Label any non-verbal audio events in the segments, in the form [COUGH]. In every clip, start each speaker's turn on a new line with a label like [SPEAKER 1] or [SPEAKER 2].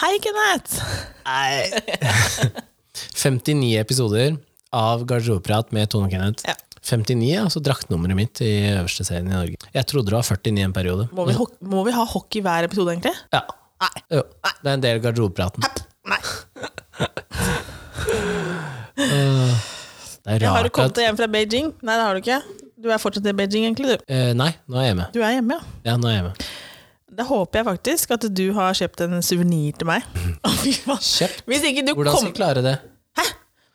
[SPEAKER 1] Hei, Kenneth!
[SPEAKER 2] Nei. 59 episoder av Garderobeprat med Tone og Kenneth.
[SPEAKER 1] Ja.
[SPEAKER 2] 59 er altså draktnummeret mitt i øverste serien i Norge. Jeg trodde det var 49 en periode.
[SPEAKER 1] Må vi, hok- må vi ha hockey hver episode, egentlig?
[SPEAKER 2] Ja. Jo, det er en del av garderobepraten.
[SPEAKER 1] Nei.
[SPEAKER 2] Det er
[SPEAKER 1] Har du
[SPEAKER 2] rart
[SPEAKER 1] kommet
[SPEAKER 2] at
[SPEAKER 1] deg hjem fra Beijing? Nei, det har du ikke. Du er fortsatt i Beijing, egentlig. Du,
[SPEAKER 2] eh, Nei, nå er jeg hjemme.
[SPEAKER 1] du er hjemme, ja.
[SPEAKER 2] Ja, nå er jeg hjemme.
[SPEAKER 1] Da håper jeg faktisk at du har kjøpt en suvenir til
[SPEAKER 2] [LAUGHS]
[SPEAKER 1] meg. Å, fy faen.
[SPEAKER 2] Kjøpt?
[SPEAKER 1] Hvis ikke du
[SPEAKER 2] Hvordan skal
[SPEAKER 1] kom
[SPEAKER 2] jeg klare det?
[SPEAKER 1] Hæ?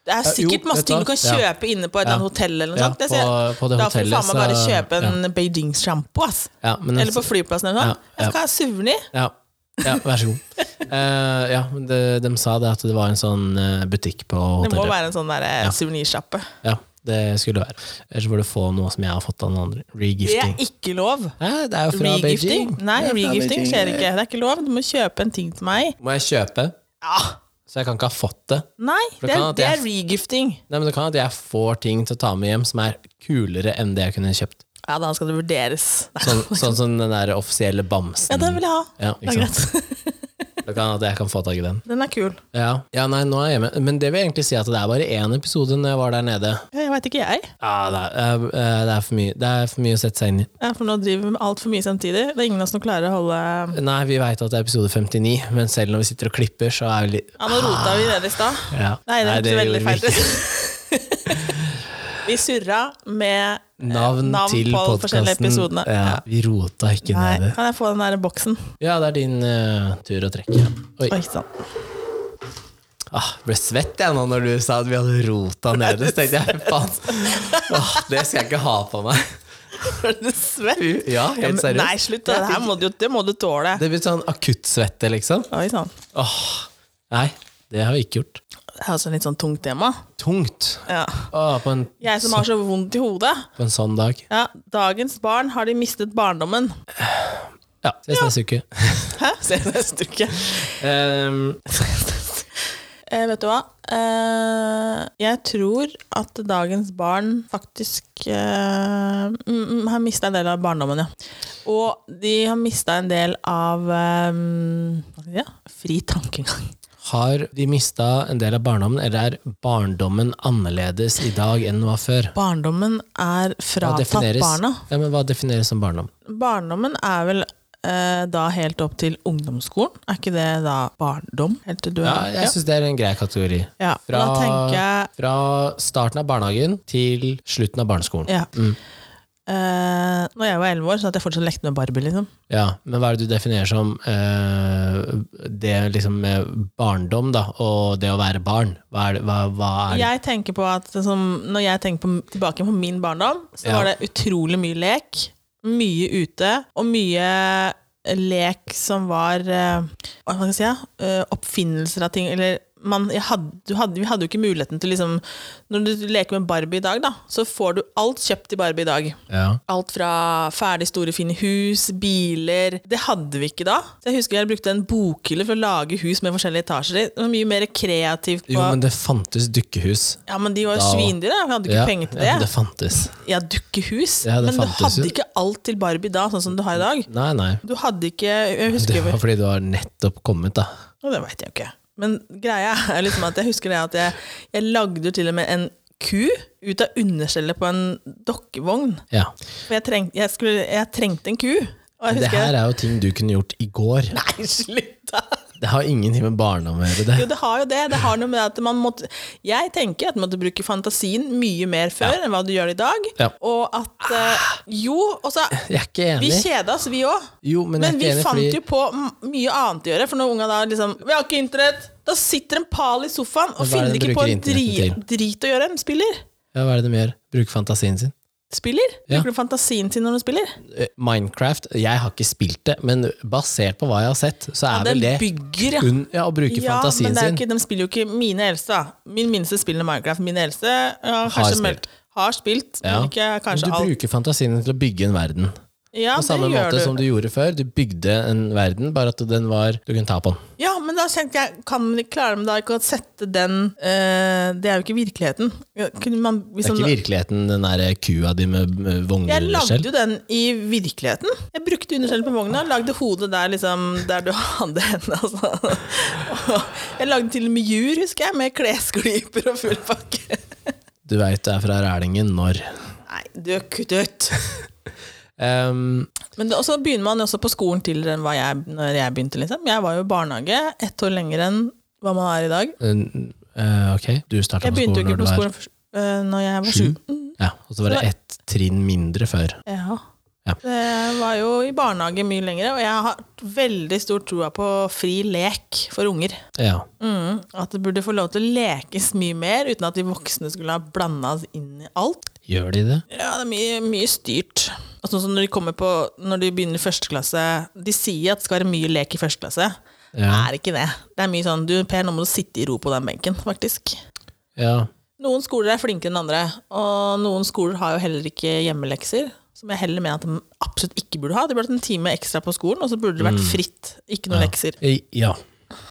[SPEAKER 1] Det er sikkert
[SPEAKER 2] jo,
[SPEAKER 1] masse
[SPEAKER 2] vet du
[SPEAKER 1] ting
[SPEAKER 2] hva?
[SPEAKER 1] du kan
[SPEAKER 2] Ja.
[SPEAKER 1] kjøpe inne på et eller annet hotell. eller noe
[SPEAKER 2] Ja,
[SPEAKER 1] sånt. Det
[SPEAKER 2] på-
[SPEAKER 1] sier jeg.
[SPEAKER 2] på det
[SPEAKER 1] da får du
[SPEAKER 2] hotellet,
[SPEAKER 1] faen meg bare
[SPEAKER 2] så-
[SPEAKER 1] kjøpe en Beijing-sjampo. ass.
[SPEAKER 2] Ja, men
[SPEAKER 1] Eller på flyplassen. eller noe sånt.
[SPEAKER 2] Ja,
[SPEAKER 1] Jeg skal ha suvenir.
[SPEAKER 2] ja, ja, vær så god.
[SPEAKER 1] [LAUGHS]
[SPEAKER 2] Eh, ja, men det, de sa det at det var en sånn eh, butikk på
[SPEAKER 1] Det må
[SPEAKER 2] hotellet.
[SPEAKER 1] være en sånn der, eh, suvenirsjappe.
[SPEAKER 2] Ja, det skulle det være. Ellers får du få noe som jeg har fått av noen andre.
[SPEAKER 1] Det er
[SPEAKER 2] Regifting.
[SPEAKER 1] ikke lov!
[SPEAKER 2] Hæ, det er jo fra Beijing.
[SPEAKER 1] Regifting? Nei,
[SPEAKER 2] Det er fra
[SPEAKER 1] regifting
[SPEAKER 2] Beijing.
[SPEAKER 1] skjer ikke. Det er ikke lov. Du må kjøpe en ting til meg.
[SPEAKER 2] Må jeg kjøpe?
[SPEAKER 1] Ja.
[SPEAKER 2] Så jeg kan ikke ha fått det.
[SPEAKER 1] Nei,
[SPEAKER 2] det
[SPEAKER 1] det er,
[SPEAKER 2] kan at
[SPEAKER 1] det
[SPEAKER 2] jeg-
[SPEAKER 1] er regifting.
[SPEAKER 2] Nei, men Det kan at jeg får ting til å ta med hjem som er kulere enn det jeg kunne kjøpt.
[SPEAKER 1] Ja, da skal det vurderes. Nei.
[SPEAKER 2] Sånn, sånn som den der
[SPEAKER 1] Ja,
[SPEAKER 2] offisielle bamsen.
[SPEAKER 1] den vil jeg ha.
[SPEAKER 2] Ja,
[SPEAKER 1] Det er
[SPEAKER 2] ikke
[SPEAKER 1] greit.
[SPEAKER 2] Det kan at jeg kan få tak i den.
[SPEAKER 1] [LAUGHS] Den er kul.
[SPEAKER 2] Ja. ja, nei, nå er jeg hjemme. Men det vil egentlig si at det er bare én episode når jeg var der nede.
[SPEAKER 1] Ja, Jeg veit ikke, jeg.
[SPEAKER 2] Ja, det er, eh, eh, det er, for, mye. Det er for mye å sette seg inn i.
[SPEAKER 1] Ja, For nå driver vi med altfor mye samtidig. Det er ingen av oss som klarer å holde
[SPEAKER 2] Nei, vi veit at det er episode 59, men selv når vi sitter og klipper, så er vi litt
[SPEAKER 1] Ja, nå rota vi det i stad.
[SPEAKER 2] ja.
[SPEAKER 1] Nei, det hørtes veldig
[SPEAKER 2] gjorde vi
[SPEAKER 1] feil
[SPEAKER 2] ikke.
[SPEAKER 1] ut. [LAUGHS] Vi surra med
[SPEAKER 2] [LAUGHS]
[SPEAKER 1] eh,
[SPEAKER 2] Navn,
[SPEAKER 1] Navn
[SPEAKER 2] til
[SPEAKER 1] på alle forskjellige
[SPEAKER 2] podkasten.
[SPEAKER 1] episodene.
[SPEAKER 2] Ja,
[SPEAKER 1] Ja.
[SPEAKER 2] vi rota ikke
[SPEAKER 1] Nei,
[SPEAKER 2] ned i det.
[SPEAKER 1] kan jeg få den der boksen?
[SPEAKER 2] Ja, det er din eh, tur å trekke. Oi.
[SPEAKER 1] Oi, sånn.
[SPEAKER 2] Ah, ble svett jeg nå når du sa at vi hadde rota nede. Så tenkte jeg faen, åh, det skal jeg ikke ha på meg.
[SPEAKER 1] Er du svett?
[SPEAKER 2] Ja,
[SPEAKER 1] Ja,
[SPEAKER 2] helt
[SPEAKER 1] men- Nei,
[SPEAKER 2] seriøst.
[SPEAKER 1] slutt. da. Det her må du, det må du tåle.
[SPEAKER 2] Det blir sånn akuttsvette, liksom.
[SPEAKER 1] Oi sann.
[SPEAKER 2] Åh, nei, det har vi ikke gjort.
[SPEAKER 1] Det er også en litt sånn tungt tema.
[SPEAKER 2] Tungt.
[SPEAKER 1] Ja.
[SPEAKER 2] Åh, på, en,
[SPEAKER 1] Jeg som har så vondt i hodet.
[SPEAKER 2] på en sånn dag.
[SPEAKER 1] Ja, dagens barn, har de mistet barndommen?
[SPEAKER 2] Ja, ses neste uke.
[SPEAKER 1] Hæ? [LAUGHS] Se neste uke.
[SPEAKER 2] Ehm,
[SPEAKER 1] Eh, vet du hva? Eh, jeg tror at dagens barn faktisk eh, mm, mm, har mista en del av barndommen, ja. Og de har mista en del av eh, hva skal jeg si, ja, fri tankegang.
[SPEAKER 2] har de mista en del av barndommen, eller er barndommen annerledes i dag enn den var før?
[SPEAKER 1] Barndommen er fratatt barna.
[SPEAKER 2] ja, men hva defineres som barndom?
[SPEAKER 1] Barndommen er vel eh, da helt opp til ungdomsskolen. Er ikke det da barndom? Helt til du
[SPEAKER 2] Ja,
[SPEAKER 1] er
[SPEAKER 2] jeg syns det er en grei kategori.
[SPEAKER 1] Ja,
[SPEAKER 2] Fra,
[SPEAKER 1] da tenker jeg
[SPEAKER 2] fra starten av barnehagen til slutten av barneskolen. Ja.
[SPEAKER 1] ja. Eh, Når jeg var elleve år, sånn at jeg fortsatt lekte med Barbie. liksom
[SPEAKER 2] Men hva er det du definerer som eh, det liksom med barndom, da, og det å være barn? Hva er det? Hva, hva er det?
[SPEAKER 1] Jeg tenker på at det som, Når jeg tenker på, tilbake på min barndom, så
[SPEAKER 2] Ja.
[SPEAKER 1] var det utrolig mye lek. Mye ute, og mye lek som var eh, Hva skal jeg si? ja, eh, Oppfinnelser av ting. Eller man, jeg hadde, du hadde, vi hadde jo ikke muligheten til liksom Når du leker med Barbie i dag, da, så får du alt kjøpt i Barbie i dag.
[SPEAKER 2] Ja.
[SPEAKER 1] Alt fra ferdig store, fine hus, biler Det hadde vi ikke da. Så jeg husker jeg brukte en bokhylle for å lage hus med forskjellige etasjer i. Det var mye mer kreativt. På,
[SPEAKER 2] Jo, men det fantes dukkehus.
[SPEAKER 1] ja, men de var jo
[SPEAKER 2] Da-
[SPEAKER 1] svindyre. Vi hadde ikke penger til det.
[SPEAKER 2] Ja,
[SPEAKER 1] Ja,
[SPEAKER 2] det fantes.
[SPEAKER 1] dukkehus.
[SPEAKER 2] Ja,
[SPEAKER 1] men
[SPEAKER 2] det
[SPEAKER 1] du
[SPEAKER 2] fantes
[SPEAKER 1] hadde
[SPEAKER 2] jo.
[SPEAKER 1] ikke alt til Barbie da, sånn som du har i dag.
[SPEAKER 2] Nei, nei.
[SPEAKER 1] Du hadde ikke Jeg
[SPEAKER 2] Det
[SPEAKER 1] husker
[SPEAKER 2] var fordi du har nettopp kommet, da.
[SPEAKER 1] Og det veit jeg jo ikke. Men greia er liksom at jeg husker det at jeg, jeg lagde jo til og med en ku ut av understellet på en dokkevogn.
[SPEAKER 2] Ja.
[SPEAKER 1] For jeg, treng, jeg, skulle, jeg trengte en ku. Og jeg
[SPEAKER 2] Det her
[SPEAKER 1] husker
[SPEAKER 2] er jo ting du kunne gjort i går.
[SPEAKER 1] Nei, slutt, da!
[SPEAKER 2] Det har ingenting med barndom å gjøre. det.
[SPEAKER 1] Jo, det har jo det. Det har noe med at man måtte Jeg tenker at man måtte bruke fantasien mye mer før enn hva du gjør i dag.
[SPEAKER 2] Ja. Ah.
[SPEAKER 1] Og at eh, Jo, og så
[SPEAKER 2] Jeg er ikke
[SPEAKER 1] Vi
[SPEAKER 2] enig.
[SPEAKER 1] kjeda oss, vi òg.
[SPEAKER 2] Jo, men, jeg
[SPEAKER 1] Men
[SPEAKER 2] er
[SPEAKER 1] vi
[SPEAKER 2] ikke enig,
[SPEAKER 1] fant
[SPEAKER 2] fordi...
[SPEAKER 1] jo på m- mye annet å gjøre. For når unga da liksom Vi har ikke internett! Da sitter en pal i sofaen og
[SPEAKER 2] Men hva er det
[SPEAKER 1] finner
[SPEAKER 2] de
[SPEAKER 1] ikke på
[SPEAKER 2] bruker
[SPEAKER 1] en dri,
[SPEAKER 2] internetten
[SPEAKER 1] drit å gjøre. De spiller.
[SPEAKER 2] Ja, hva er det de gjør? Bruke fantasien sin?
[SPEAKER 1] Spiller?
[SPEAKER 2] Ja.
[SPEAKER 1] Bruker du fantasien sin når du spiller?
[SPEAKER 2] Eh, Minecraft, jeg har ikke spilt det, men basert på hva jeg har sett, så er vel det
[SPEAKER 1] bygger, ja.
[SPEAKER 2] unn, ja, å bruke
[SPEAKER 1] Ja, men
[SPEAKER 2] fantasien
[SPEAKER 1] det er jo
[SPEAKER 2] sin.
[SPEAKER 1] ikke, de spiller jo ikke mine eldste. da Min minste spiller Minecraft. Min eldste ja, kanskje
[SPEAKER 2] spilt.
[SPEAKER 1] meldt- har spilt,
[SPEAKER 2] Ja.
[SPEAKER 1] men ikke
[SPEAKER 2] Men
[SPEAKER 1] kanskje
[SPEAKER 2] du
[SPEAKER 1] alt.
[SPEAKER 2] bruker fantasien din til å bygge en verden.
[SPEAKER 1] Ja,
[SPEAKER 2] På samme
[SPEAKER 1] det gjør
[SPEAKER 2] måte
[SPEAKER 1] du.
[SPEAKER 2] som du gjorde før. Du bygde en verden, bare at den var Du kunne ta på den.
[SPEAKER 1] Ja, men da tenkte jeg, kan man ikke klare men da ikke å sette den eh, Det er jo ikke virkeligheten. Kunne man,
[SPEAKER 2] Det
[SPEAKER 1] hvis
[SPEAKER 2] er ikke
[SPEAKER 1] man-
[SPEAKER 2] virkeligheten, den der kua di med med
[SPEAKER 1] jeg lagde
[SPEAKER 2] vognskjell.
[SPEAKER 1] jo den i virkeligheten. Jeg brukte underskjell på vogna, lagde hodet der liksom, der du [LAUGHS] hadde henne. Altså. Og Jeg lagde til og med jur, husker jeg, med klesklyper og full pakke.
[SPEAKER 2] Du veit det er fra Rælingen når.
[SPEAKER 1] Nei, du kutt ut!
[SPEAKER 2] Ehm,
[SPEAKER 1] Men det, og så begynner man jo også på skolen tidligere enn hva jeg, når jeg begynte. liksom. Jeg var jo i barnehage ett år lenger enn hva man er i dag.
[SPEAKER 2] en- eh, ok, du starta
[SPEAKER 1] Jeg
[SPEAKER 2] på
[SPEAKER 1] begynte jo
[SPEAKER 2] skolen når
[SPEAKER 1] ikke
[SPEAKER 2] du
[SPEAKER 1] på
[SPEAKER 2] var
[SPEAKER 1] skolen først, eh, når jeg var
[SPEAKER 2] sju.
[SPEAKER 1] sju.
[SPEAKER 2] Ja, og så var det ett trinn mindre før.
[SPEAKER 1] Ja.
[SPEAKER 2] Ja.
[SPEAKER 1] Jeg var jo i barnehage mye lenger, og jeg har veldig stor troa på fri lek for unger.
[SPEAKER 2] Ja.
[SPEAKER 1] Mm, at det burde få lov til å lekes mye mer, uten at de voksne skulle ha blanda oss inn i alt.
[SPEAKER 2] Gjør de det?
[SPEAKER 1] Ja, det er mye, mye styrt. Og sånn som når de, kommer på, når de begynner i første klasse De sier at det skal være mye lek i første klasse. Det
[SPEAKER 2] Ja.
[SPEAKER 1] er ikke det. Det er mye sånn Du, Per, nå må du sitte i ro på den benken, faktisk.
[SPEAKER 2] ja.
[SPEAKER 1] Noen skoler er flinkere enn andre, og noen skoler har jo heller ikke hjemmelekser. Som jeg heller mener at de absolutt ikke burde ha. Det burde vært en time ekstra på skolen, og så burde det vært fritt. Ikke noen lekser.
[SPEAKER 2] I- Mm. Eh, Ja.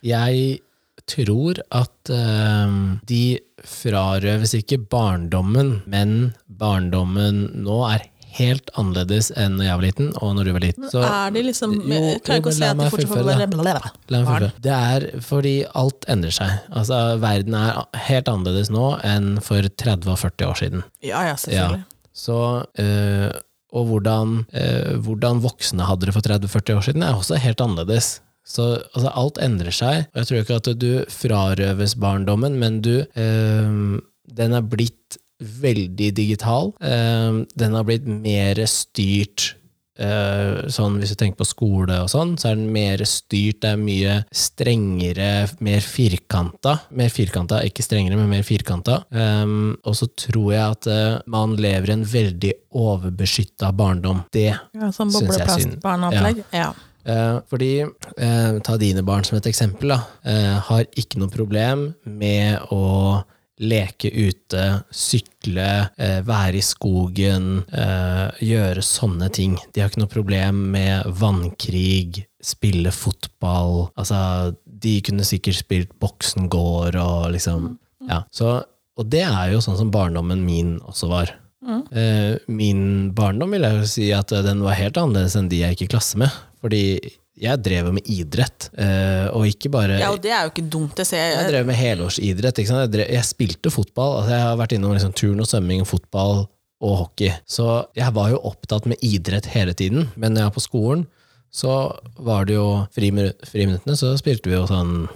[SPEAKER 2] Jeg tror at eh, de frarøves ikke barndommen, men barndommen nå er helt annerledes enn når jeg var liten, og når du var liten. Så
[SPEAKER 1] er de liksom
[SPEAKER 2] Jo,
[SPEAKER 1] Jeg klarer ikke
[SPEAKER 2] jo,
[SPEAKER 1] å
[SPEAKER 2] men
[SPEAKER 1] se
[SPEAKER 2] la
[SPEAKER 1] at de
[SPEAKER 2] meg
[SPEAKER 1] fortsatt får
[SPEAKER 2] fullføre,
[SPEAKER 1] være
[SPEAKER 2] da. La meg fullføre. Det er fordi alt endrer seg. Altså, verden er helt annerledes nå enn for 30 og 40 år siden.
[SPEAKER 1] Ja, ja, selvfølgelig.
[SPEAKER 2] Så, eh, og hvordan, eh, hvordan voksne hadde det for 30-40 år siden, er også helt annerledes. Så altså, alt endrer seg, og jeg tror ikke at du frarøves barndommen, men du eh, Den er blitt veldig digital. Eh, den har blitt mer styrt. eh, sånn Hvis du tenker på skole og sånn, så er den mer styrt. Det er mye strengere, mer firkanta. Mer firkanta, ikke strengere, men mer firkanta. Um, og så tror jeg at eh, man lever i en veldig overbeskytta barndom. Det.
[SPEAKER 1] Ja, sånn
[SPEAKER 2] Synes jeg synd.
[SPEAKER 1] bobleplastbarneopplegg. Ja.
[SPEAKER 2] Eh, fordi, eh, ta dine barn som et eksempel, da. Eh, har ikke noe problem med å leke ute, sykle, eh, være i skogen, eh, gjøre sånne ting. De har ikke noe problem med vannkrig, spille fotball. Altså, de kunne sikkert spilt boksen gård og liksom Ja. Så, og det er jo sånn som barndommen min også var.
[SPEAKER 1] Mm.
[SPEAKER 2] Eh, Min barndom vil jeg jo si at eh, den var helt annerledes enn de jeg gikk i klasse med. Fordi jeg drev jo med idrett, eh, og ikke bare
[SPEAKER 1] ja, og det er jo ikke dumt. Det ser
[SPEAKER 2] Jeg
[SPEAKER 1] jeg.
[SPEAKER 2] drev med helårsidrett. Ikke sant? Jeg, drev, jeg spilte fotball. Altså jeg har vært innom liksom turn og svømming, fotball og hockey. Så jeg var jo opptatt med idrett hele tiden. Men når jeg var på skolen, så var det jo frimi- friminuttene, så spilte vi jo sånn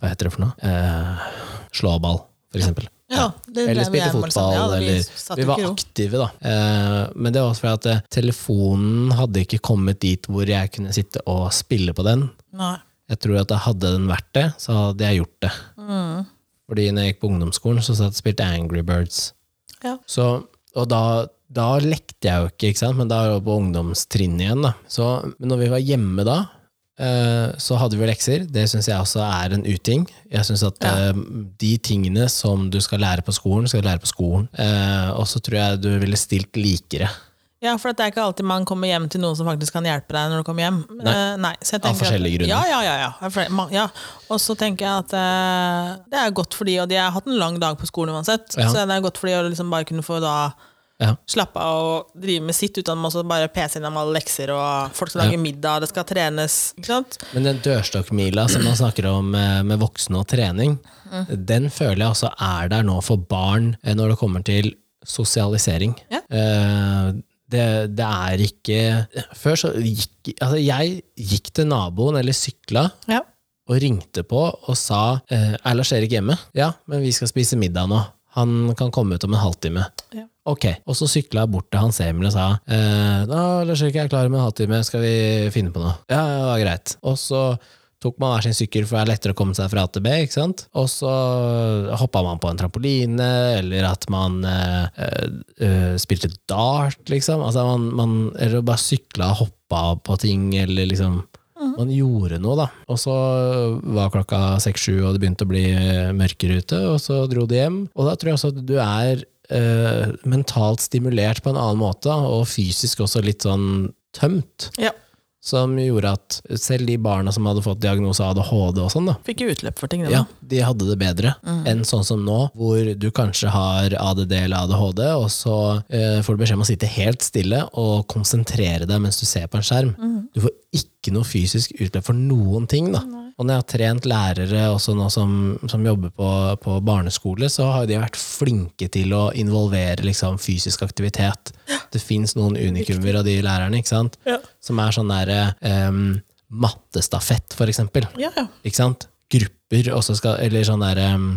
[SPEAKER 2] Hva heter det for noe? Eh, slåball, for eksempel.
[SPEAKER 1] Ja, det
[SPEAKER 2] Eller
[SPEAKER 1] drev jeg
[SPEAKER 2] spilte
[SPEAKER 1] med, liksom.
[SPEAKER 2] fotball,
[SPEAKER 1] Ja, det- vi
[SPEAKER 2] eller
[SPEAKER 1] satt
[SPEAKER 2] Vi
[SPEAKER 1] jo ikke i
[SPEAKER 2] var
[SPEAKER 1] ro.
[SPEAKER 2] aktive, da. Eh, men det var også fordi at eh, telefonen hadde ikke kommet dit hvor jeg kunne sitte og spille på den.
[SPEAKER 1] Nei.
[SPEAKER 2] Jeg tror at hadde den vært det, så hadde jeg gjort det.
[SPEAKER 1] Mm.
[SPEAKER 2] Fordi når jeg gikk på ungdomsskolen, så satt jeg og spilte Angry Birds.
[SPEAKER 1] Ja.
[SPEAKER 2] Så, og da, da lekte jeg jo ikke, ikke sant? men da var jeg på ungdomstrinnet igjen. Da. Så, men når vi var hjemme da, eh, så hadde vi lekser. Det syns jeg også er en uting. Jeg synes at eh, De tingene som du skal lære på skolen, skal du lære på skolen. Eh, og så tror jeg du ville stilt likere.
[SPEAKER 1] Ja, for det er ikke alltid man kommer hjem til noen som faktisk kan hjelpe deg når du kommer hjem.
[SPEAKER 2] Nei.
[SPEAKER 1] Eh, nei. Så jeg
[SPEAKER 2] Av
[SPEAKER 1] tenker
[SPEAKER 2] forskjellige
[SPEAKER 1] at,
[SPEAKER 2] grunner.
[SPEAKER 1] Ja, ja, ja. ja. Av flere- ma- ja. Og så tenker jeg at eh, det er godt for de, og de har hatt en lang dag på skolen uansett,
[SPEAKER 2] Ja.
[SPEAKER 1] så det er godt for de å liksom bare kunne få da
[SPEAKER 2] Ja.
[SPEAKER 1] slappe av og drive med sitt, uten at man også bare peser innom alle lekser, og folk skal
[SPEAKER 2] Ja.
[SPEAKER 1] lage middag, det skal trenes, ikke sant?
[SPEAKER 2] Men den dørstokkmila som man snakker om eh, med voksne og trening, den føler jeg også er der nå for barn eh, når det kommer til sosialisering.
[SPEAKER 1] Ja.
[SPEAKER 2] Eh, Det, det er ikke Før så gikk altså jeg gikk til naboen eller sykla
[SPEAKER 1] Ja.
[SPEAKER 2] og ringte på og sa eh, Er Lars Erik hjemme? Ja, men vi skal spise middag nå. Han kan komme ut om en halvtime.
[SPEAKER 1] Ja.
[SPEAKER 2] Ok, Og så sykla jeg bort til Hans Emil og sa eh, da, Lars Erik, jeg er klar om en halvtime, skal vi finne på noe? Ja, ja, det var greit. Og så tok man hver sin sykkel, for det er lettere å komme seg fra A til B. ikke sant? Og så hoppa man på en trampoline, eller at man eh, eh, eh, spilte dart, liksom. Altså man, man, eller bare sykla og hoppa på ting, eller liksom man gjorde noe, da. Og så var klokka seks-sju, og det begynte å bli eh, mørkere ute, og så dro de hjem. Og da tror jeg også at du er eh, mentalt stimulert på en annen måte, da, og fysisk også litt sånn tømt.
[SPEAKER 1] Ja.
[SPEAKER 2] Som gjorde at selv de barna som hadde fått diagnose ADHD og sånn, da,
[SPEAKER 1] Fikk jo utløp for tingene.
[SPEAKER 2] ja,
[SPEAKER 1] Ja.
[SPEAKER 2] de hadde det bedre enn sånn som nå, hvor du kanskje har ADD eller ADHD, og så eh, får du beskjed om å sitte helt stille og konsentrere deg mens du ser på en skjerm. Du får ikke noe fysisk utløp for noen ting. da. Og når jeg har trent lærere også nå som, som jobber på, på barneskole, så har jo de vært flinke til å involvere liksom, fysisk aktivitet. Det fins noen unikummer av de lærerne, ikke sant?
[SPEAKER 1] Ja.
[SPEAKER 2] som er sånn derre em, mattestafett, for eksempel
[SPEAKER 1] Ja, ja.
[SPEAKER 2] ikke sant? Grupper, og så skal, eller sånn der um,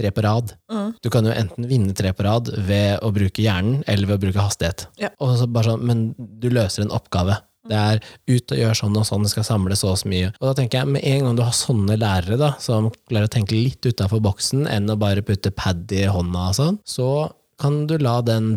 [SPEAKER 2] tre på rad. Du kan jo enten vinne tre på rad ved å bruke hjernen, eller ved å bruke hastighet.
[SPEAKER 1] Ja.
[SPEAKER 2] Og så bare sånn, men du løser en oppgave. Det er ut og gjør sånn og sånn, det skal samle så og så mye. Og da tenker jeg, med en gang du har sånne lærere da, som klarer å tenke litt utenfor boksen, enn å bare putte pad i hånda og sånn, så kan du la den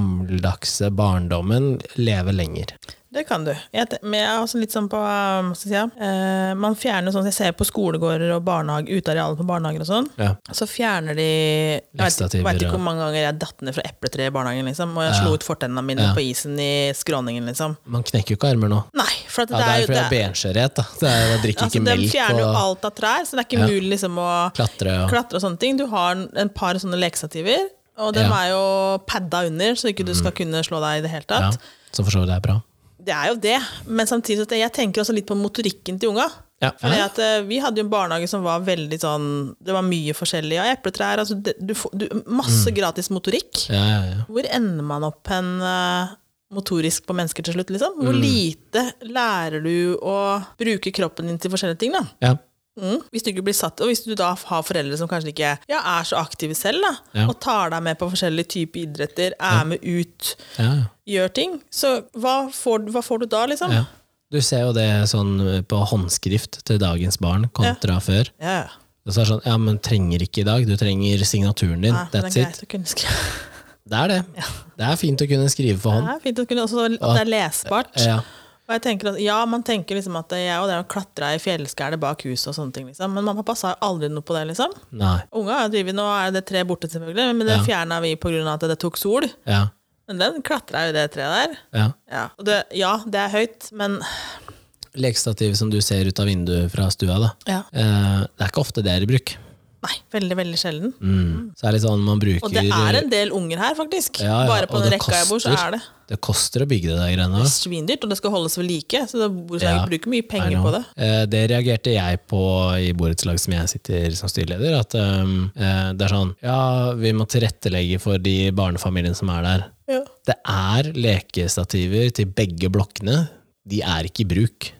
[SPEAKER 2] gammeldagse barndommen leve lenger.
[SPEAKER 1] Det kan du. Jeg, te- men jeg er også litt sånn på um, hva skal jeg si, ja, eh, Man fjerner jo sånn, Jeg ser på skolegårder og barnehage, utearealer på barnehager og sånn.
[SPEAKER 2] Ja.
[SPEAKER 1] Så fjerner de Jeg vet,
[SPEAKER 2] Lekstativer,
[SPEAKER 1] vet
[SPEAKER 2] ja.
[SPEAKER 1] ikke hvor mange ganger jeg datt ned fra epletreet i barnehagen, liksom, og jeg slo ut fortennene mine på isen i skråningen, liksom.
[SPEAKER 2] Man knekker jo ikke armer nå.
[SPEAKER 1] Nei, for at
[SPEAKER 2] Ja, det er jo
[SPEAKER 1] det
[SPEAKER 2] fordi jeg
[SPEAKER 1] er
[SPEAKER 2] har benskjørhet, da. Det er, jeg drikker
[SPEAKER 1] Altså,
[SPEAKER 2] ikke
[SPEAKER 1] de fjerner jo
[SPEAKER 2] melk og
[SPEAKER 1] alt av trær, så det er ikke mulig liksom å
[SPEAKER 2] klatre og
[SPEAKER 1] klatre og sånne ting. Du har en- en par sånne lekestativer, og dem
[SPEAKER 2] Ja. Mm.
[SPEAKER 1] er jo padda under, så ikke du skal kunne slå deg i det hele
[SPEAKER 2] ja,
[SPEAKER 1] tatt.
[SPEAKER 2] Så for så vidt er det bra.
[SPEAKER 1] Det er jo det, men samtidig så at jeg tenker også litt på motorikken til unga.
[SPEAKER 2] Ja.
[SPEAKER 1] Fordi at eh, Vi hadde jo en barnehage som var veldig sånn Det var mye forskjellig. Ja, epletrær altså, det, du, får- du, Masse
[SPEAKER 2] Mm.
[SPEAKER 1] gratis motorikk.
[SPEAKER 2] Ja, ja, ja.
[SPEAKER 1] Hvor ender man opp hen eh, motorisk på mennesker til slutt? liksom?
[SPEAKER 2] Mm.
[SPEAKER 1] Hvor lite lærer du å bruke kroppen din til forskjellige ting? da?
[SPEAKER 2] ja.
[SPEAKER 1] Mm. Hvis du ikke blir satt, Og hvis du da har foreldre som kanskje ikke ja, er så aktive selv, da,
[SPEAKER 2] Ja.
[SPEAKER 1] og tar deg med på forskjellige typer idretter, er med ut,
[SPEAKER 2] ja, ja.
[SPEAKER 1] gjør ting, så hva får, hva får du da, liksom?
[SPEAKER 2] ja. Du ser jo det sånn på håndskrift til dagens barn kontra før.
[SPEAKER 1] Ja, ja.
[SPEAKER 2] Og så er det sånn, ja, men trenger ikke i dag. Du trenger signaturen din.
[SPEAKER 1] Nei, men
[SPEAKER 2] That's
[SPEAKER 1] det Ah, er
[SPEAKER 2] it.
[SPEAKER 1] greit å kunne skrive.
[SPEAKER 2] Det er det. Det er fint å kunne skrive for hånd.
[SPEAKER 1] Det er fint å kunne også at det er lesbart.
[SPEAKER 2] Sånn. Ja.
[SPEAKER 1] Og jeg tenker at, ja, man tenker liksom at jeg og det å klatre i fjellskælet bak huset og sånne ting, liksom. Men mamma og pappa sa jo aldri noe på det, liksom.
[SPEAKER 2] Nei.
[SPEAKER 1] Unga har drevet, nå er det tre borte selvfølgelig, men det
[SPEAKER 2] Ja.
[SPEAKER 1] fjernet fjerna vi pga. at det tok sol.
[SPEAKER 2] Ja.
[SPEAKER 1] Men den klatra jo det treet der.
[SPEAKER 2] ja.
[SPEAKER 1] Ja. Og det, ja, det er høyt, men
[SPEAKER 2] Lekestativ som du ser ut av vinduet fra stua, da.
[SPEAKER 1] ja.
[SPEAKER 2] Eh, det er ikke ofte det er i bruk.
[SPEAKER 1] Nei, veldig, veldig sjelden.
[SPEAKER 2] Mm. Så er det litt sånn man bruker
[SPEAKER 1] Og det er en del unger her, faktisk.
[SPEAKER 2] Ja, ja,
[SPEAKER 1] Bare på
[SPEAKER 2] og
[SPEAKER 1] den
[SPEAKER 2] det
[SPEAKER 1] rekka jeg bor, så
[SPEAKER 2] koster.
[SPEAKER 1] er det
[SPEAKER 2] Det koster å bygge det der greiene. da.
[SPEAKER 1] svindyrt, og det skal holdes ved like, så det borettslaget
[SPEAKER 2] Ja.
[SPEAKER 1] bruker mye
[SPEAKER 2] I
[SPEAKER 1] penger
[SPEAKER 2] know.
[SPEAKER 1] på det.
[SPEAKER 2] Eh, det reagerte jeg på i borettslag som jeg sitter som styreleder. At ehm, eh, det er sånn Ja, vi må tilrettelegge for de barnefamiliene som er der.
[SPEAKER 1] Ja.
[SPEAKER 2] Det er lekestativer til begge blokkene. De er ikke i bruk.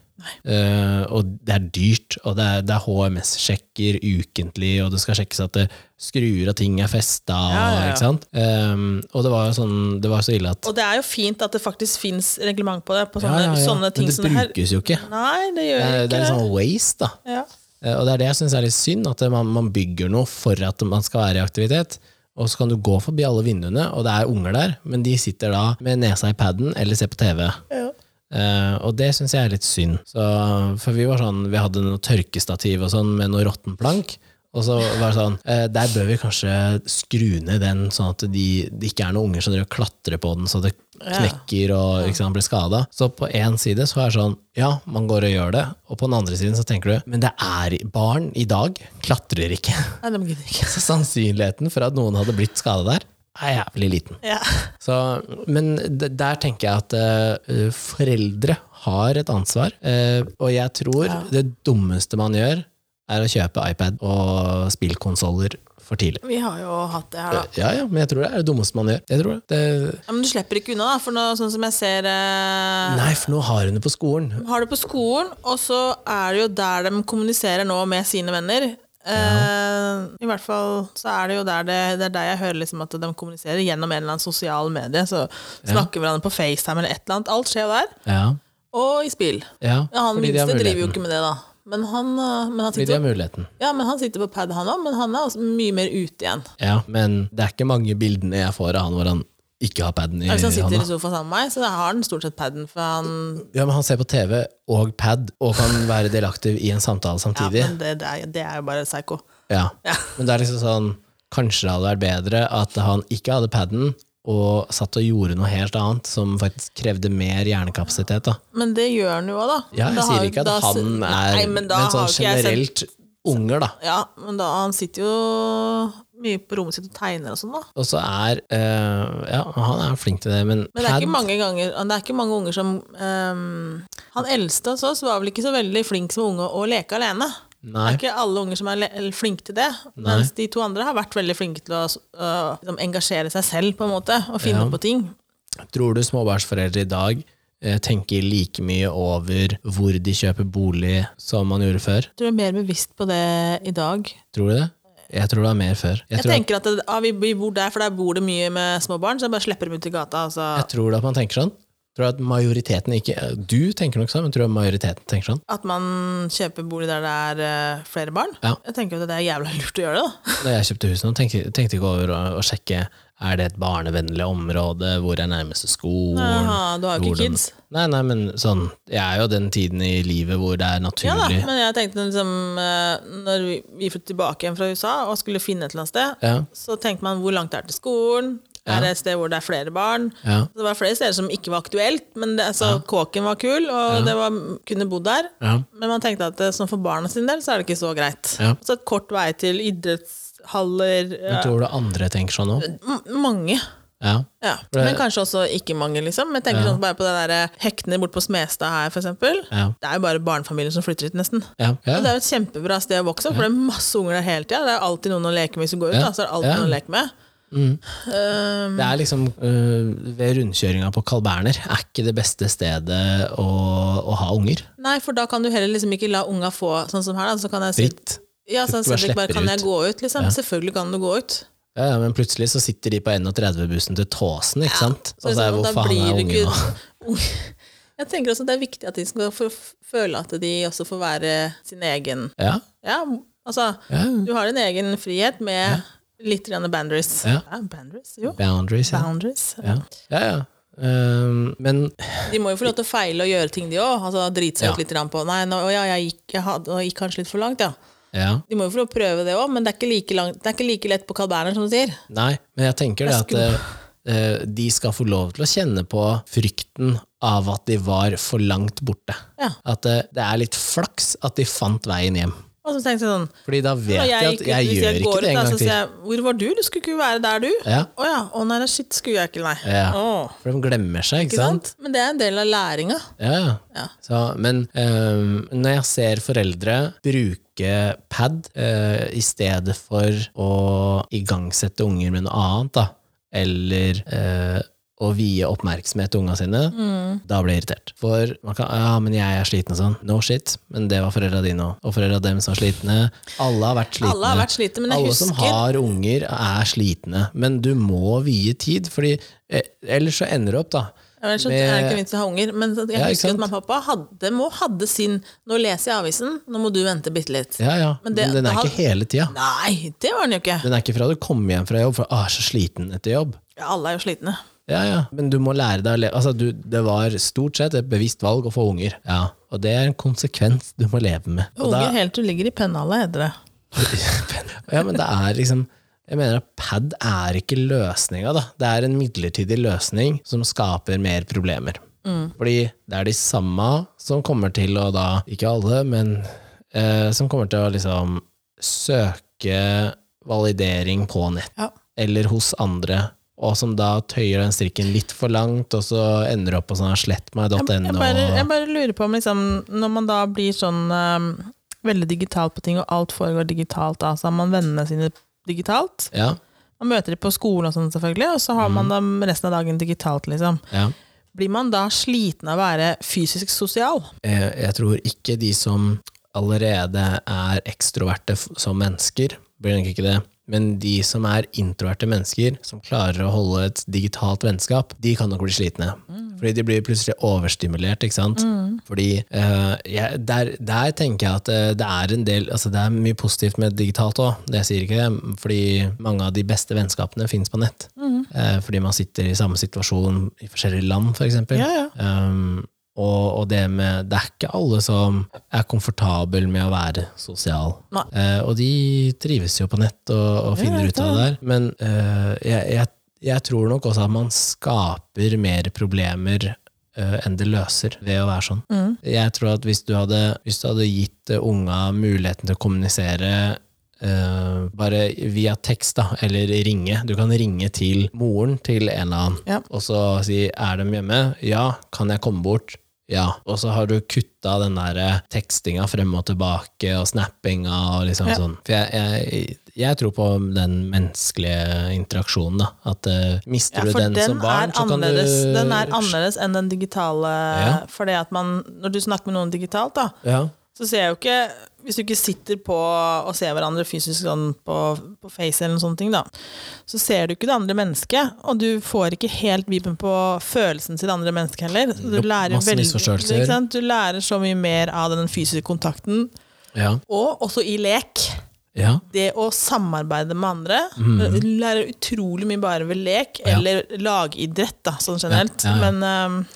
[SPEAKER 2] Eh, og det er dyrt, og det er, det er HMS-sjekker ukentlig, og det skal sjekkes at det skruer og ting er festa.
[SPEAKER 1] Ja, ja, ja.
[SPEAKER 2] Ikke sant? Ehm, og det var jo sånn, det var så ille at
[SPEAKER 1] Og det er jo fint at det faktisk fins reglement på det, på
[SPEAKER 2] Ja,
[SPEAKER 1] sånne,
[SPEAKER 2] ja, ja.
[SPEAKER 1] sånne ting
[SPEAKER 2] Men det
[SPEAKER 1] som det her.
[SPEAKER 2] brukes jo ikke.
[SPEAKER 1] Nei, det gjør
[SPEAKER 2] Det er,
[SPEAKER 1] ikke
[SPEAKER 2] det
[SPEAKER 1] det.
[SPEAKER 2] er litt sånn waste, da.
[SPEAKER 1] Ja.
[SPEAKER 2] Eh, Og det er det jeg syns er litt synd, at man, man bygger noe for at man skal være i aktivitet. Og så kan du gå forbi alle vinduene, og det er unger der, men de sitter da med nesa i paden eller ser på TV.
[SPEAKER 1] Ja.
[SPEAKER 2] Eh, og det syns jeg er litt synd. Så, for vi var sånn, vi hadde noe tørkestativ og sånn med noe råttenplank. Og så var det sånn, eh, der bør vi kanskje skru ned den, sånn at de, det ikke er noen unger som driver og klatrer på den så det knekker og ikke sant, blir skada. Så på én side så er det sånn, ja, man går og gjør det. Og på den andre siden så tenker du, men det er barn i dag, klatrer ikke. [LAUGHS]
[SPEAKER 1] Nei, de gidder ikke.
[SPEAKER 2] Så sannsynligheten for at noen hadde blitt skada der, er jævlig liten.
[SPEAKER 1] Ja.
[SPEAKER 2] Så, men d- der tenker jeg at eh, foreldre har et ansvar. eh, og jeg tror det dummeste man gjør, er å kjøpe iPad og spillkonsoller for tidlig.
[SPEAKER 1] [LAUGHS]
[SPEAKER 2] Eh,
[SPEAKER 1] Vi har jo hatt det her, da.
[SPEAKER 2] Ja, ja, men jeg tror det er det dummeste man gjør. Jeg tror det. Det,
[SPEAKER 1] Ja, men du slipper ikke unna, da. For nå, sånn som jeg ser eh,
[SPEAKER 2] nei, for nå har hun det på skolen.
[SPEAKER 1] Har det på skolen, og så er det jo der de kommuniserer nå med sine venner. Eh, I hvert fall så er det jo der det, det er der jeg hører liksom at de kommuniserer gjennom en eller annen sosial medie. Så snakker hverandre på FaceTime eller et eller annet. Alt skjer jo der.
[SPEAKER 2] Ja,
[SPEAKER 1] Og i spill.
[SPEAKER 2] ja
[SPEAKER 1] Ja, han
[SPEAKER 2] fordi de har
[SPEAKER 1] minste driver jo
[SPEAKER 2] muligheten.
[SPEAKER 1] ikke med det, da. Men han, øh, men han,
[SPEAKER 2] Fordi de
[SPEAKER 1] sitter,
[SPEAKER 2] har muligheten.
[SPEAKER 1] ja, men han sitter på pad, han òg, men han er også mye mer ute igjen.
[SPEAKER 2] Ja, men det er ikke mange bildene jeg får av han hvor han ikke har paden i
[SPEAKER 1] Hvis Altså, han sitter
[SPEAKER 2] hånda.
[SPEAKER 1] i sofaen sammen med meg, så har han stort sett paden. For han,
[SPEAKER 2] Ja, men han ser på TV og pad og kan være delaktig i en samtale
[SPEAKER 1] ja,
[SPEAKER 2] samtidig.
[SPEAKER 1] men det, det, er, det er jo bare psycho.
[SPEAKER 2] Ja.
[SPEAKER 1] Ja.
[SPEAKER 2] Men det er liksom sånn Kanskje det hadde vært bedre at han ikke hadde paden og satt og gjorde noe helt annet som faktisk krevde mer hjernekapasitet. da.
[SPEAKER 1] Men det gjør han jo òg, da.
[SPEAKER 2] Ja, jeg
[SPEAKER 1] Da har-
[SPEAKER 2] sier ikke at
[SPEAKER 1] da
[SPEAKER 2] han
[SPEAKER 1] si-
[SPEAKER 2] er
[SPEAKER 1] Nei,
[SPEAKER 2] men,
[SPEAKER 1] men da har
[SPEAKER 2] sånn
[SPEAKER 1] ikke jeg sett-
[SPEAKER 2] generelt unger, da.
[SPEAKER 1] Ja, men da, han sitter jo mye på rommet sitt og tegner og sånn, da.
[SPEAKER 2] Og så er eh, Ja, han er flink til det, men,
[SPEAKER 1] Men det er
[SPEAKER 2] Pad-
[SPEAKER 1] ikke mange, ganger, det er ikke mange unger som ehm, Han eldste hos oss var vel ikke så veldig flink som unge å leke alene. Det
[SPEAKER 2] Nei.
[SPEAKER 1] er ikke alle unger som er le- eller flinke til det, mens de to andre har vært veldig flinke til å øh, liksom, engasjere seg selv på en måte, og finne
[SPEAKER 2] Ja.
[SPEAKER 1] på ting.
[SPEAKER 2] Tror du småbarnsforeldre i dag eh, tenker like mye over hvor de kjøper bolig som man gjorde før?
[SPEAKER 1] Du er mer bevisst på det i dag.
[SPEAKER 2] Tror du det? Jeg tror det var mer før. Jeg,
[SPEAKER 1] Jeg,
[SPEAKER 2] tror,
[SPEAKER 1] tenker at det, ah, vi, vi bor der, for der bor det mye med små barn, så jeg bare slipper dem ut i gata. Altså.
[SPEAKER 2] jeg tror det at man tenker sånn. Jeg tror at majoriteten ikke Du tenker nok sånn, men jeg tror majoriteten tenker sånn.
[SPEAKER 1] At man kjøper bolig der det er eh, flere barn.
[SPEAKER 2] Ja.
[SPEAKER 1] Jeg tenker at det er jævla lurt å gjøre det, da.
[SPEAKER 2] Når jeg kjøpte hus nå, tenkte jeg ikke over å, å sjekke er det et barnevennlig område, hvor er nærmeste skolen
[SPEAKER 1] Aha, du har jo
[SPEAKER 2] hvor
[SPEAKER 1] ikke
[SPEAKER 2] den-
[SPEAKER 1] kids.
[SPEAKER 2] Nei, nei, men sånn Jeg er jo den tiden i livet hvor det er
[SPEAKER 1] Ja da,
[SPEAKER 2] naturlig.
[SPEAKER 1] men jeg tenkte liksom eh, Når vi- vi flyttet tilbake igjen fra USA og skulle finne et eller annet sted,
[SPEAKER 2] Ja,
[SPEAKER 1] så tenkte man hvor langt det er til skolen. Er det et sted hvor det er flere barn?
[SPEAKER 2] ja,
[SPEAKER 1] Det var flere steder som ikke var aktuelt, men det, altså, kåken var kul, og det var, kunne bodd der.
[SPEAKER 2] ja,
[SPEAKER 1] Men man tenkte at eh, sånn for barna sin del, så er det ikke så greit.
[SPEAKER 2] Ja.
[SPEAKER 1] Så et kort vei til idrettshaller
[SPEAKER 2] Jeg
[SPEAKER 1] eh,
[SPEAKER 2] tror det andre tenker sånn òg.
[SPEAKER 1] m- Mange.
[SPEAKER 2] Ja.
[SPEAKER 1] Ja.
[SPEAKER 2] For det-
[SPEAKER 1] Men kanskje også ikke mange, liksom. Jeg tenker sånn bare på den der hektene bort på Smestad her, for eksempel.
[SPEAKER 2] Ja.
[SPEAKER 1] Det er jo bare barnefamilier som flytter hit, nesten.
[SPEAKER 2] Ja. Ja.
[SPEAKER 1] Og det er jo et kjempebra sted å vokse opp, for det er masse unger der hele tida. Det er alltid noen å leke med hvis du går ut,
[SPEAKER 2] Ja.
[SPEAKER 1] da, så er det alltid
[SPEAKER 2] Ja.
[SPEAKER 1] noen å leke med. Um,
[SPEAKER 2] Det er liksom øh, Ved rundkjøringa på Carl Berner er ikke det beste stedet å, å ha unger.
[SPEAKER 1] nei, for da kan du heller liksom ikke la unga få sånn som her, da. Så kan jeg si
[SPEAKER 2] Fritt.
[SPEAKER 1] ja, så
[SPEAKER 2] Du bare
[SPEAKER 1] Cedric bare
[SPEAKER 2] slipper
[SPEAKER 1] kan jeg
[SPEAKER 2] ut.
[SPEAKER 1] gå ut, liksom. Selvfølgelig kan du gå ut.
[SPEAKER 2] Ja, ja, men plutselig så sitter de på 31-bussen til Tåsen, ikke sant?
[SPEAKER 1] Så
[SPEAKER 2] Og så er
[SPEAKER 1] liksom,
[SPEAKER 2] Altså, hvor
[SPEAKER 1] da
[SPEAKER 2] faen
[SPEAKER 1] blir du
[SPEAKER 2] er ungen
[SPEAKER 1] ikke-
[SPEAKER 2] nå?
[SPEAKER 1] [LAUGHS] Jeg tenker også det er viktig at de skal få føle at de også får være sin egen
[SPEAKER 2] Ja,
[SPEAKER 1] Ja, altså
[SPEAKER 2] ja.
[SPEAKER 1] Du har din egen frihet med litt grann boundaries.
[SPEAKER 2] Ja.
[SPEAKER 1] boundaries, jo.
[SPEAKER 2] Boundaries, ja.
[SPEAKER 1] Boundaries.
[SPEAKER 2] Ja, ja. ja. Ehm, men
[SPEAKER 1] De må jo få lov til å feile og gjøre ting, de òg. Altså, drite seg
[SPEAKER 2] Ja.
[SPEAKER 1] ut litt grann på Nei, nå, å ja, jeg gikk, jeg hadde, nå gikk kanskje litt for langt, ja.
[SPEAKER 2] ja.
[SPEAKER 1] De må jo få lov til å prøve det òg, men det er, ikke like langt, det er ikke like lett på Carl Berner, som du sier.
[SPEAKER 2] Nei, men jeg tenker det at eh, de skal få lov til å kjenne på frykten av at de var for langt borte.
[SPEAKER 1] Ja.
[SPEAKER 2] At eh, det er litt flaks at de fant veien hjem.
[SPEAKER 1] Og så tenkte jeg sånn
[SPEAKER 2] Fordi da vet
[SPEAKER 1] «Å,
[SPEAKER 2] de at
[SPEAKER 1] gikk ut,
[SPEAKER 2] jeg
[SPEAKER 1] hvis går
[SPEAKER 2] gjør ikke
[SPEAKER 1] ut, da,
[SPEAKER 2] det
[SPEAKER 1] så
[SPEAKER 2] en gang til.
[SPEAKER 1] sier jeg, Hvor var du? Du skulle ikke være der, du.
[SPEAKER 2] Ja,
[SPEAKER 1] Å ja. Å nei, da, shit, skulle jeg ikke, nei.
[SPEAKER 2] Ja.
[SPEAKER 1] Å,
[SPEAKER 2] for de glemmer seg, ikke
[SPEAKER 1] ikke
[SPEAKER 2] sant?
[SPEAKER 1] sant? Men det er en del av læringa.
[SPEAKER 2] Ja.
[SPEAKER 1] Ja.
[SPEAKER 2] Så, men ehm, når jeg ser foreldre bruke pad eh, i stedet for å igangsette unger med noe annet, da, eller eh, å vie oppmerksomhet til unga sine,
[SPEAKER 1] Mm.
[SPEAKER 2] da blir jeg irritert. For man kan Ja, men jeg er sliten og sånn. No shit. Men det var foreldra dine òg. Og foreldra dem som er slitne. Alle har vært slitne.
[SPEAKER 1] Alle har vært slitne, men jeg
[SPEAKER 2] Alle
[SPEAKER 1] husker
[SPEAKER 2] som har unger, er slitne. Men du må vie tid, fordi eh, ellers så ender du opp, da.
[SPEAKER 1] Jeg vet ikke, det er ikke vits å ha unger, men jeg
[SPEAKER 2] Ja, ikke
[SPEAKER 1] husker
[SPEAKER 2] sant?
[SPEAKER 1] at mamma og pappa hadde, må hadde sin 'nå leser jeg avisen, nå må du vente bitte litt'.
[SPEAKER 2] Ja, ja.
[SPEAKER 1] Men
[SPEAKER 2] Men,
[SPEAKER 1] det-
[SPEAKER 2] den er
[SPEAKER 1] da-
[SPEAKER 2] ikke hele tida.
[SPEAKER 1] Nei, det var den jo ikke!
[SPEAKER 2] Den er ikke fra du kommer hjem fra jobb, for ah, så sliten etter jobb.
[SPEAKER 1] Ja, alle er jo slitne.
[SPEAKER 2] Ja, ja. Men du må lære deg å leve. Altså, du, det var stort sett et bevisst valg å få unger. Ja. Og det er en konsekvens du må leve med. Og
[SPEAKER 1] Unger helt til du ligger i pennalet, heter det.
[SPEAKER 2] da, [LAUGHS] ja, men det er liksom jeg mener at pad er ikke løsninga, da. Det er en midlertidig løsning som skaper mer problemer. Fordi det er de samme som kommer til å da, ikke alle, men eh, som kommer til å liksom søke validering på nett.
[SPEAKER 1] Ja.
[SPEAKER 2] eller hos andre, og som da tøyer den strikken litt for langt, og så ender det opp på sånn her
[SPEAKER 1] Jeg
[SPEAKER 2] slettmeg.no.
[SPEAKER 1] bare, jeg bare lurer på om liksom, når man da blir sånn ehm, veldig digital på ting, og alt foregår digitalt, da, så har man vennene sine digitalt.
[SPEAKER 2] Ja,
[SPEAKER 1] Man møter dem på skolen og sånn, selvfølgelig, og så har
[SPEAKER 2] Mhm.
[SPEAKER 1] man dem resten av dagen digitalt, liksom.
[SPEAKER 2] ja.
[SPEAKER 1] Blir man da sliten av å være fysisk sosial?
[SPEAKER 2] Jeg, Eh, jeg tror ikke de som allerede er ekstroverte f- som mennesker, blir nok ikke det. Men de som er introverte mennesker, som klarer å holde et digitalt vennskap, de kan nok bli slitne.
[SPEAKER 1] Mm.
[SPEAKER 2] Fordi de blir plutselig overstimulert, ikke sant? Fordi eh, jeg, der, der tenker jeg at eh, det er en del Altså det er mye positivt med digitalt òg, det sier ikke det. Fordi mange av de beste vennskapene finnes på nett.
[SPEAKER 1] Mm.
[SPEAKER 2] Eh, fordi man sitter i samme situasjon i forskjellige land, f.eks. For eksempel.
[SPEAKER 1] Ja, ja.
[SPEAKER 2] Um, og, og det med Det er ikke alle som er komfortabel med å være sosial.
[SPEAKER 1] Nei.
[SPEAKER 2] Eh, og de trives jo på nett og, og finner
[SPEAKER 1] jeg vet
[SPEAKER 2] ut av det der. Men eh, jeg, jeg jeg tror nok også at man skaper mer problemer eh, enn det løser ved å være sånn.
[SPEAKER 1] Mm.
[SPEAKER 2] Jeg tror at hvis du hadde, hvis du hadde gitt eh, unga muligheten til å kommunisere eh, bare via tekst, da, eller ringe. Du kan ringe til moren til en eller annen,
[SPEAKER 1] Ja.
[SPEAKER 2] og så si 'er de hjemme'? Ja. Kan jeg komme bort? Ja. Og så har du kutta den der eh, tekstinga frem og tilbake, og snappinga og liksom
[SPEAKER 1] Ja.
[SPEAKER 2] sånn. For jeg, jeg, jeg tror på den menneskelige interaksjonen, da. At eh, mister
[SPEAKER 1] Ja,
[SPEAKER 2] du
[SPEAKER 1] for
[SPEAKER 2] den,
[SPEAKER 1] den,
[SPEAKER 2] som barn,
[SPEAKER 1] er
[SPEAKER 2] så kan du
[SPEAKER 1] annerledes, den er annerledes enn den digitale.
[SPEAKER 2] Ja.
[SPEAKER 1] For det at man, når du snakker med noen digitalt, da,
[SPEAKER 2] Ja.
[SPEAKER 1] så ser jeg jo ikke Hvis du ikke sitter på og ser hverandre fysisk sånn på, på face, eller noen sånne ting, da, så ser du ikke det andre mennesket. Og du får ikke helt viben på følelsen til det andre mennesket heller. Så Du
[SPEAKER 2] Nope,
[SPEAKER 1] lærer,
[SPEAKER 2] masse
[SPEAKER 1] veldig,
[SPEAKER 2] misforståelser.
[SPEAKER 1] ikke sant? du lærer så mye mer av den fysiske kontakten.
[SPEAKER 2] Ja.
[SPEAKER 1] Og også i lek.
[SPEAKER 2] ja.
[SPEAKER 1] Det å samarbeide med andre. Du lærer utrolig mye bare ved lek,
[SPEAKER 2] Mm. Ja.
[SPEAKER 1] eller lagidrett, da, sånn generelt.
[SPEAKER 2] Ja, ja, ja.
[SPEAKER 1] Men ehm,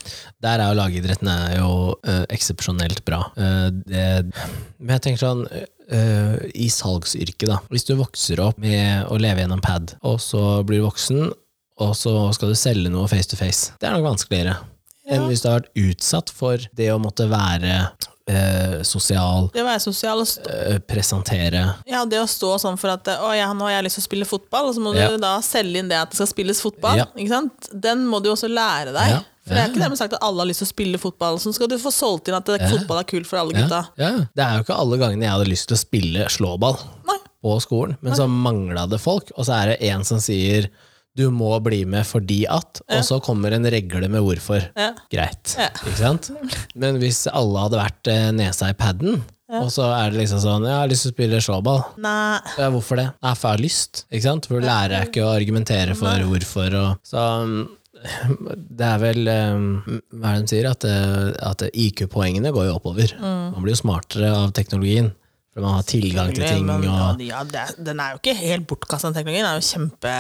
[SPEAKER 2] Der er jo lagidretten er jo eh, eksepsjonelt bra. Eh, det, men jeg tenker sånn eh, I salgsyrket, da. Hvis du vokser opp med å leve gjennom pad, og så blir du voksen, og så skal du selge noe face to face. Det er nok vanskeligere enn hvis du har vært utsatt for det å måtte være eh, sosial,
[SPEAKER 1] det å være sosial og stå
[SPEAKER 2] eh, presentere
[SPEAKER 1] Ja, det å stå sånn for at å, ja, nå har jeg lyst til å spille fotball, og så må
[SPEAKER 2] Ja.
[SPEAKER 1] du da selge inn det at det skal spilles fotball.
[SPEAKER 2] Ja.
[SPEAKER 1] Ikke sant? Den må du jo også lære deg.
[SPEAKER 2] Ja.
[SPEAKER 1] For det er ikke dermed sagt at alle har lyst til å spille fotball. Så skal du få solgt inn at det, fotball er kult for alle gutta.
[SPEAKER 2] ja, ja. Det er jo ikke alle gangene jeg hadde lyst til å spille slåball.
[SPEAKER 1] Nei.
[SPEAKER 2] på skolen, men så mangla det folk, og så er det en som sier du må bli med fordi at, og så kommer en regle med hvorfor.
[SPEAKER 1] Ja.
[SPEAKER 2] Greit.
[SPEAKER 1] Ja.
[SPEAKER 2] Ikke sant? Men hvis alle hadde vært eh, nesa i paden, og så er det liksom sånn 'Jeg har lyst til å spille slåball'.
[SPEAKER 1] Nei.
[SPEAKER 2] Ja, hvorfor det? Nei, for jeg har lyst. Ikke sant? For du lærer jeg ikke å argumentere for hvorfor. Og, så um, det er vel um, Hva er det de sier? At, eh, at IQ-poengene går jo oppover.
[SPEAKER 1] Mm.
[SPEAKER 2] Man blir jo smartere av teknologien. For man har tilgang til ting.
[SPEAKER 1] Men, ja,
[SPEAKER 2] Og,
[SPEAKER 1] det- ja, det, er- den er jo ikke helt bortkasta, den teknologien. Den er jo kjempe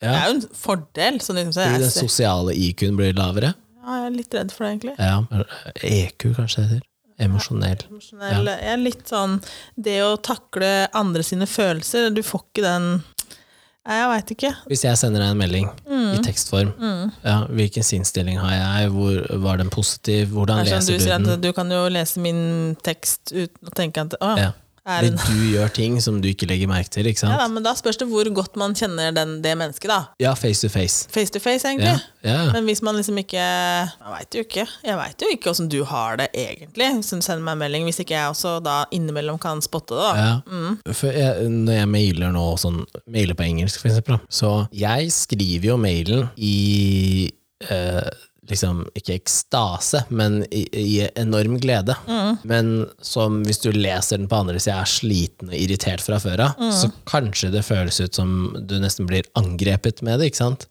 [SPEAKER 2] Ja.
[SPEAKER 1] Det er jo en fordel. Sånn, liksom, så
[SPEAKER 2] Fordi
[SPEAKER 1] jeg,
[SPEAKER 2] den sosiale IQ-en blir lavere?
[SPEAKER 1] ja, jeg er litt redd for det, egentlig.
[SPEAKER 2] Ja. EQ, kanskje det heter. Emosjonell.
[SPEAKER 1] Emosjonell. Jeg er litt sånn Det å takle andre sine følelser, du får ikke den Nei, Jeg veit ikke.
[SPEAKER 2] Hvis jeg sender deg en melding
[SPEAKER 1] Mm.
[SPEAKER 2] i tekstform, ja, hvilken sinnsstilling har jeg, Hvor, var den positiv, hvordan
[SPEAKER 1] Det er sånn
[SPEAKER 2] leser
[SPEAKER 1] du
[SPEAKER 2] du
[SPEAKER 1] sier
[SPEAKER 2] den?
[SPEAKER 1] at du kan jo lese min tekst uten å tenke at Å,
[SPEAKER 2] Ja.
[SPEAKER 1] er
[SPEAKER 2] Fordi
[SPEAKER 1] hun
[SPEAKER 2] du gjør ting som du ikke legger merke til, ikke
[SPEAKER 1] ja, da,
[SPEAKER 2] sant?
[SPEAKER 1] Men da spørs det hvor godt man kjenner den, det mennesket, da.
[SPEAKER 2] Ja, face to face.
[SPEAKER 1] Face to face, egentlig.
[SPEAKER 2] Ja, ja.
[SPEAKER 1] Men hvis man liksom ikke Jeg veit jo ikke Jeg vet jo ikke åssen du har det, egentlig, hvis du sender meg en melding. Hvis ikke jeg også da innimellom kan spotte det, da.
[SPEAKER 2] Ja.
[SPEAKER 1] Mm.
[SPEAKER 2] For jeg, når jeg mailer nå, sånn, mailer på engelsk for eksempel, da. så jeg skriver jo mailen i eh, liksom, ikke ekstase, men i, i enorm glede.
[SPEAKER 1] Mm.
[SPEAKER 2] Men som hvis du leser den på andre siden, er sliten og irritert fra før av,
[SPEAKER 1] Mm.
[SPEAKER 2] så kanskje det føles ut som du nesten blir angrepet med det, ikke sant?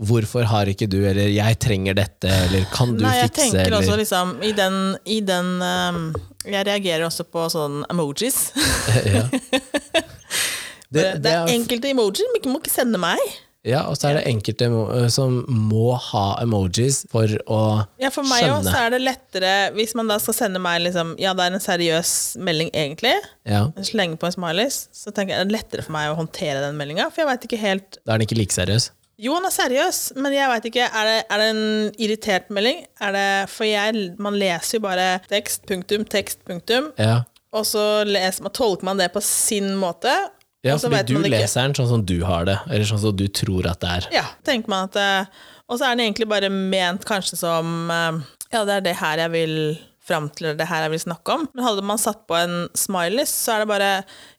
[SPEAKER 2] Hvorfor har ikke du, eller jeg trenger dette, eller kan du
[SPEAKER 1] Nei, jeg
[SPEAKER 2] fikse,
[SPEAKER 1] tenker
[SPEAKER 2] eller
[SPEAKER 1] også liksom I den, i den ehm, Jeg reagerer også på sånn emojis.
[SPEAKER 2] [LAUGHS] ja.
[SPEAKER 1] [LAUGHS] Det, er
[SPEAKER 2] jo-
[SPEAKER 1] enkelte emojis men ikke må ikke sende meg.
[SPEAKER 2] Ja, og så er det enkelte emo- ø, som må ha emojis for å
[SPEAKER 1] Ja, for meg også
[SPEAKER 2] skjønne.
[SPEAKER 1] er det lettere hvis man da skal sende meg liksom, Ja, det er en seriøs melding, egentlig.
[SPEAKER 2] Ja,
[SPEAKER 1] Slenge på en smileys. Så tenker jeg det er lettere for meg å håndtere den meldinga. For jeg veit ikke helt
[SPEAKER 2] da er den ikke like seriøs.
[SPEAKER 1] Jo, han er seriøs, men jeg veit ikke. Er det, er det en irritert melding? Er det, for jeg, man leser jo bare tekst, punktum, tekst, punktum.
[SPEAKER 2] Ja,
[SPEAKER 1] Og så leser man, tolker man det på sin måte.
[SPEAKER 2] ja
[SPEAKER 1] og så
[SPEAKER 2] fordi
[SPEAKER 1] vet
[SPEAKER 2] du
[SPEAKER 1] man ikke-
[SPEAKER 2] leser den sånn som du har det, eller sånn som du tror at det er.
[SPEAKER 1] Ja, tenker man at eh, Og så er den egentlig bare ment kanskje som eh, Ja, det er det her jeg vil fram til, eller det her jeg vil snakke om. Men hadde man satt på en smileys, så er det bare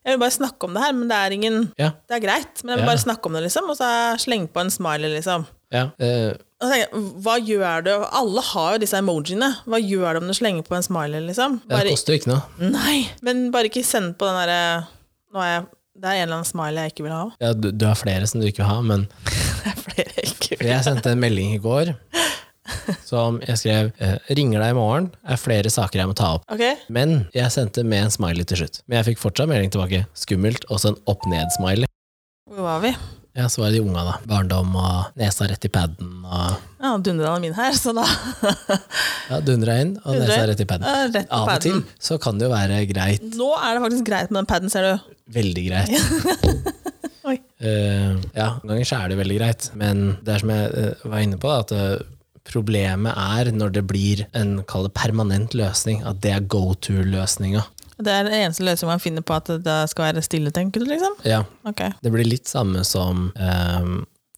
[SPEAKER 1] Jeg vil bare snakke om det her, men det er ingen
[SPEAKER 2] Ja,
[SPEAKER 1] Det er greit, men jeg vil
[SPEAKER 2] Ja.
[SPEAKER 1] bare snakke om det, liksom. Og så sleng på en smiley, liksom.
[SPEAKER 2] ja. ø,
[SPEAKER 1] Og så tenker jeg, hva gjør det? Alle har jo disse emojiene. Hva gjør det om du slenger på en smiley, liksom?
[SPEAKER 2] det
[SPEAKER 1] Bare,
[SPEAKER 2] koster jo ikke noe.
[SPEAKER 1] nei, men bare ikke send på den derre Nå er jeg Det er en eller annen smiley jeg ikke vil ha.
[SPEAKER 2] Ja, du, du har flere som du ikke vil ha, men
[SPEAKER 1] [LAUGHS] Det er flere jeg ikke vil
[SPEAKER 2] jeg sendte en melding i går
[SPEAKER 1] [LAUGHS]
[SPEAKER 2] som jeg skrev ø, 'Ringer deg i morgen', er flere saker jeg må ta opp.
[SPEAKER 1] Ok?
[SPEAKER 2] Men jeg sendte med en smiley til slutt. Men jeg fikk fortsatt melding tilbake. Skummelt, også en opp-ned-smiley.
[SPEAKER 1] Hvor var vi?
[SPEAKER 2] Ja, så var det de unga, da. Barndom og nesa rett i paden og
[SPEAKER 1] Ja, dundra den min her, så da [LAUGHS]
[SPEAKER 2] ja, dundra inn og
[SPEAKER 1] Dundra
[SPEAKER 2] nesa
[SPEAKER 1] inn.
[SPEAKER 2] rett i paden.
[SPEAKER 1] Eh, Rett på
[SPEAKER 2] Av og til
[SPEAKER 1] paden.
[SPEAKER 2] så kan det jo være greit.
[SPEAKER 1] Nå er det faktisk greit med den paden, ser du.
[SPEAKER 2] [LAUGHS] Veldig greit.
[SPEAKER 1] Oi.
[SPEAKER 2] Eh, ja, noen ganger så er det veldig greit, men det er som jeg eh, var inne på, da, at eh, problemet er når det blir en kall det permanent løsning, at det er go to-løsninga.
[SPEAKER 1] Det er den eneste løsningen man finner på at det da skal være stille, tenker du, liksom?
[SPEAKER 2] Ja,
[SPEAKER 1] Ok.
[SPEAKER 2] det blir litt samme som eh,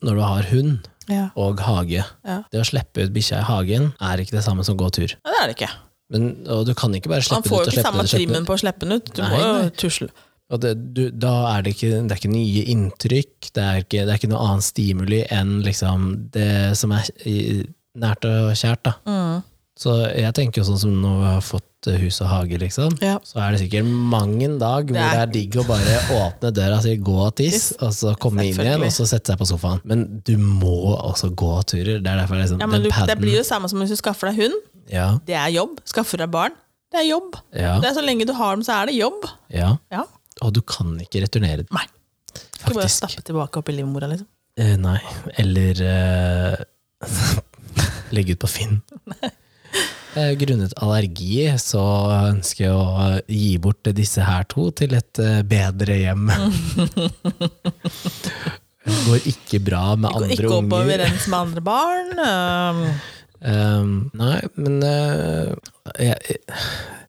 [SPEAKER 2] når du har hund
[SPEAKER 1] Ja.
[SPEAKER 2] og hage.
[SPEAKER 1] Ja.
[SPEAKER 2] Det å slippe ut bikkja i hagen er ikke det samme som gå tur.
[SPEAKER 1] Nei, det er det ikke.
[SPEAKER 2] Men, og du kan ikke bare
[SPEAKER 1] Man
[SPEAKER 2] slippe den
[SPEAKER 1] får jo
[SPEAKER 2] ut og
[SPEAKER 1] ikke
[SPEAKER 2] slippe den
[SPEAKER 1] samme
[SPEAKER 2] ut. og slippe den
[SPEAKER 1] trimmen på å slippe den ut. Du
[SPEAKER 2] Nei,
[SPEAKER 1] må jo
[SPEAKER 2] nei.
[SPEAKER 1] tusle.
[SPEAKER 2] ut. Og det, du, da er det, ikke, det er ikke nye inntrykk, det er ikke, det er ikke noe annet stimuli enn liksom det som er i- nært og kjært. Da.
[SPEAKER 1] Mm.
[SPEAKER 2] Så jeg tenker jo sånn som når vi har fått eh, hus og hage, liksom.
[SPEAKER 1] Ja.
[SPEAKER 2] Så er det sikkert mang en dag
[SPEAKER 1] Det
[SPEAKER 2] hvor det
[SPEAKER 1] er-
[SPEAKER 2] er digg å
[SPEAKER 1] [LAUGHS]
[SPEAKER 2] bare åpne døra og si 'gå og tiss', og så komme inn igjen
[SPEAKER 1] Selvfølgelig.
[SPEAKER 2] og så sette seg på sofaen. Men du må også gå turer. Det er derfor det er
[SPEAKER 1] Ja,
[SPEAKER 2] sånn
[SPEAKER 1] men
[SPEAKER 2] den
[SPEAKER 1] du, det
[SPEAKER 2] padden
[SPEAKER 1] blir jo samme som hvis du skaffer deg hund.
[SPEAKER 2] ja,
[SPEAKER 1] Det er jobb. Skaffer deg barn. Det er jobb.
[SPEAKER 2] ja,
[SPEAKER 1] Det er Så lenge du har dem, så er det jobb.
[SPEAKER 2] ja.
[SPEAKER 1] Ja.
[SPEAKER 2] Og du kan ikke returnere den,
[SPEAKER 1] Nei. Ikke bare
[SPEAKER 2] faktisk.
[SPEAKER 1] stappe tilbake opp i livmora, liksom.
[SPEAKER 2] Eh, nei. Eller eh, [LAUGHS] legge ut på
[SPEAKER 1] [LAUGHS]
[SPEAKER 2] Finn. Eh, Grunnet allergi så ønsker jeg å eh, gi bort disse her to til et eh, bedre
[SPEAKER 1] [LAUGHS]
[SPEAKER 2] hjem. Det går ikke bra med
[SPEAKER 1] Gå-
[SPEAKER 2] andre
[SPEAKER 1] Ikke opp
[SPEAKER 2] unger.
[SPEAKER 1] overens med andre barn. Um,
[SPEAKER 2] Um, nei, men eh, jeg, jeg,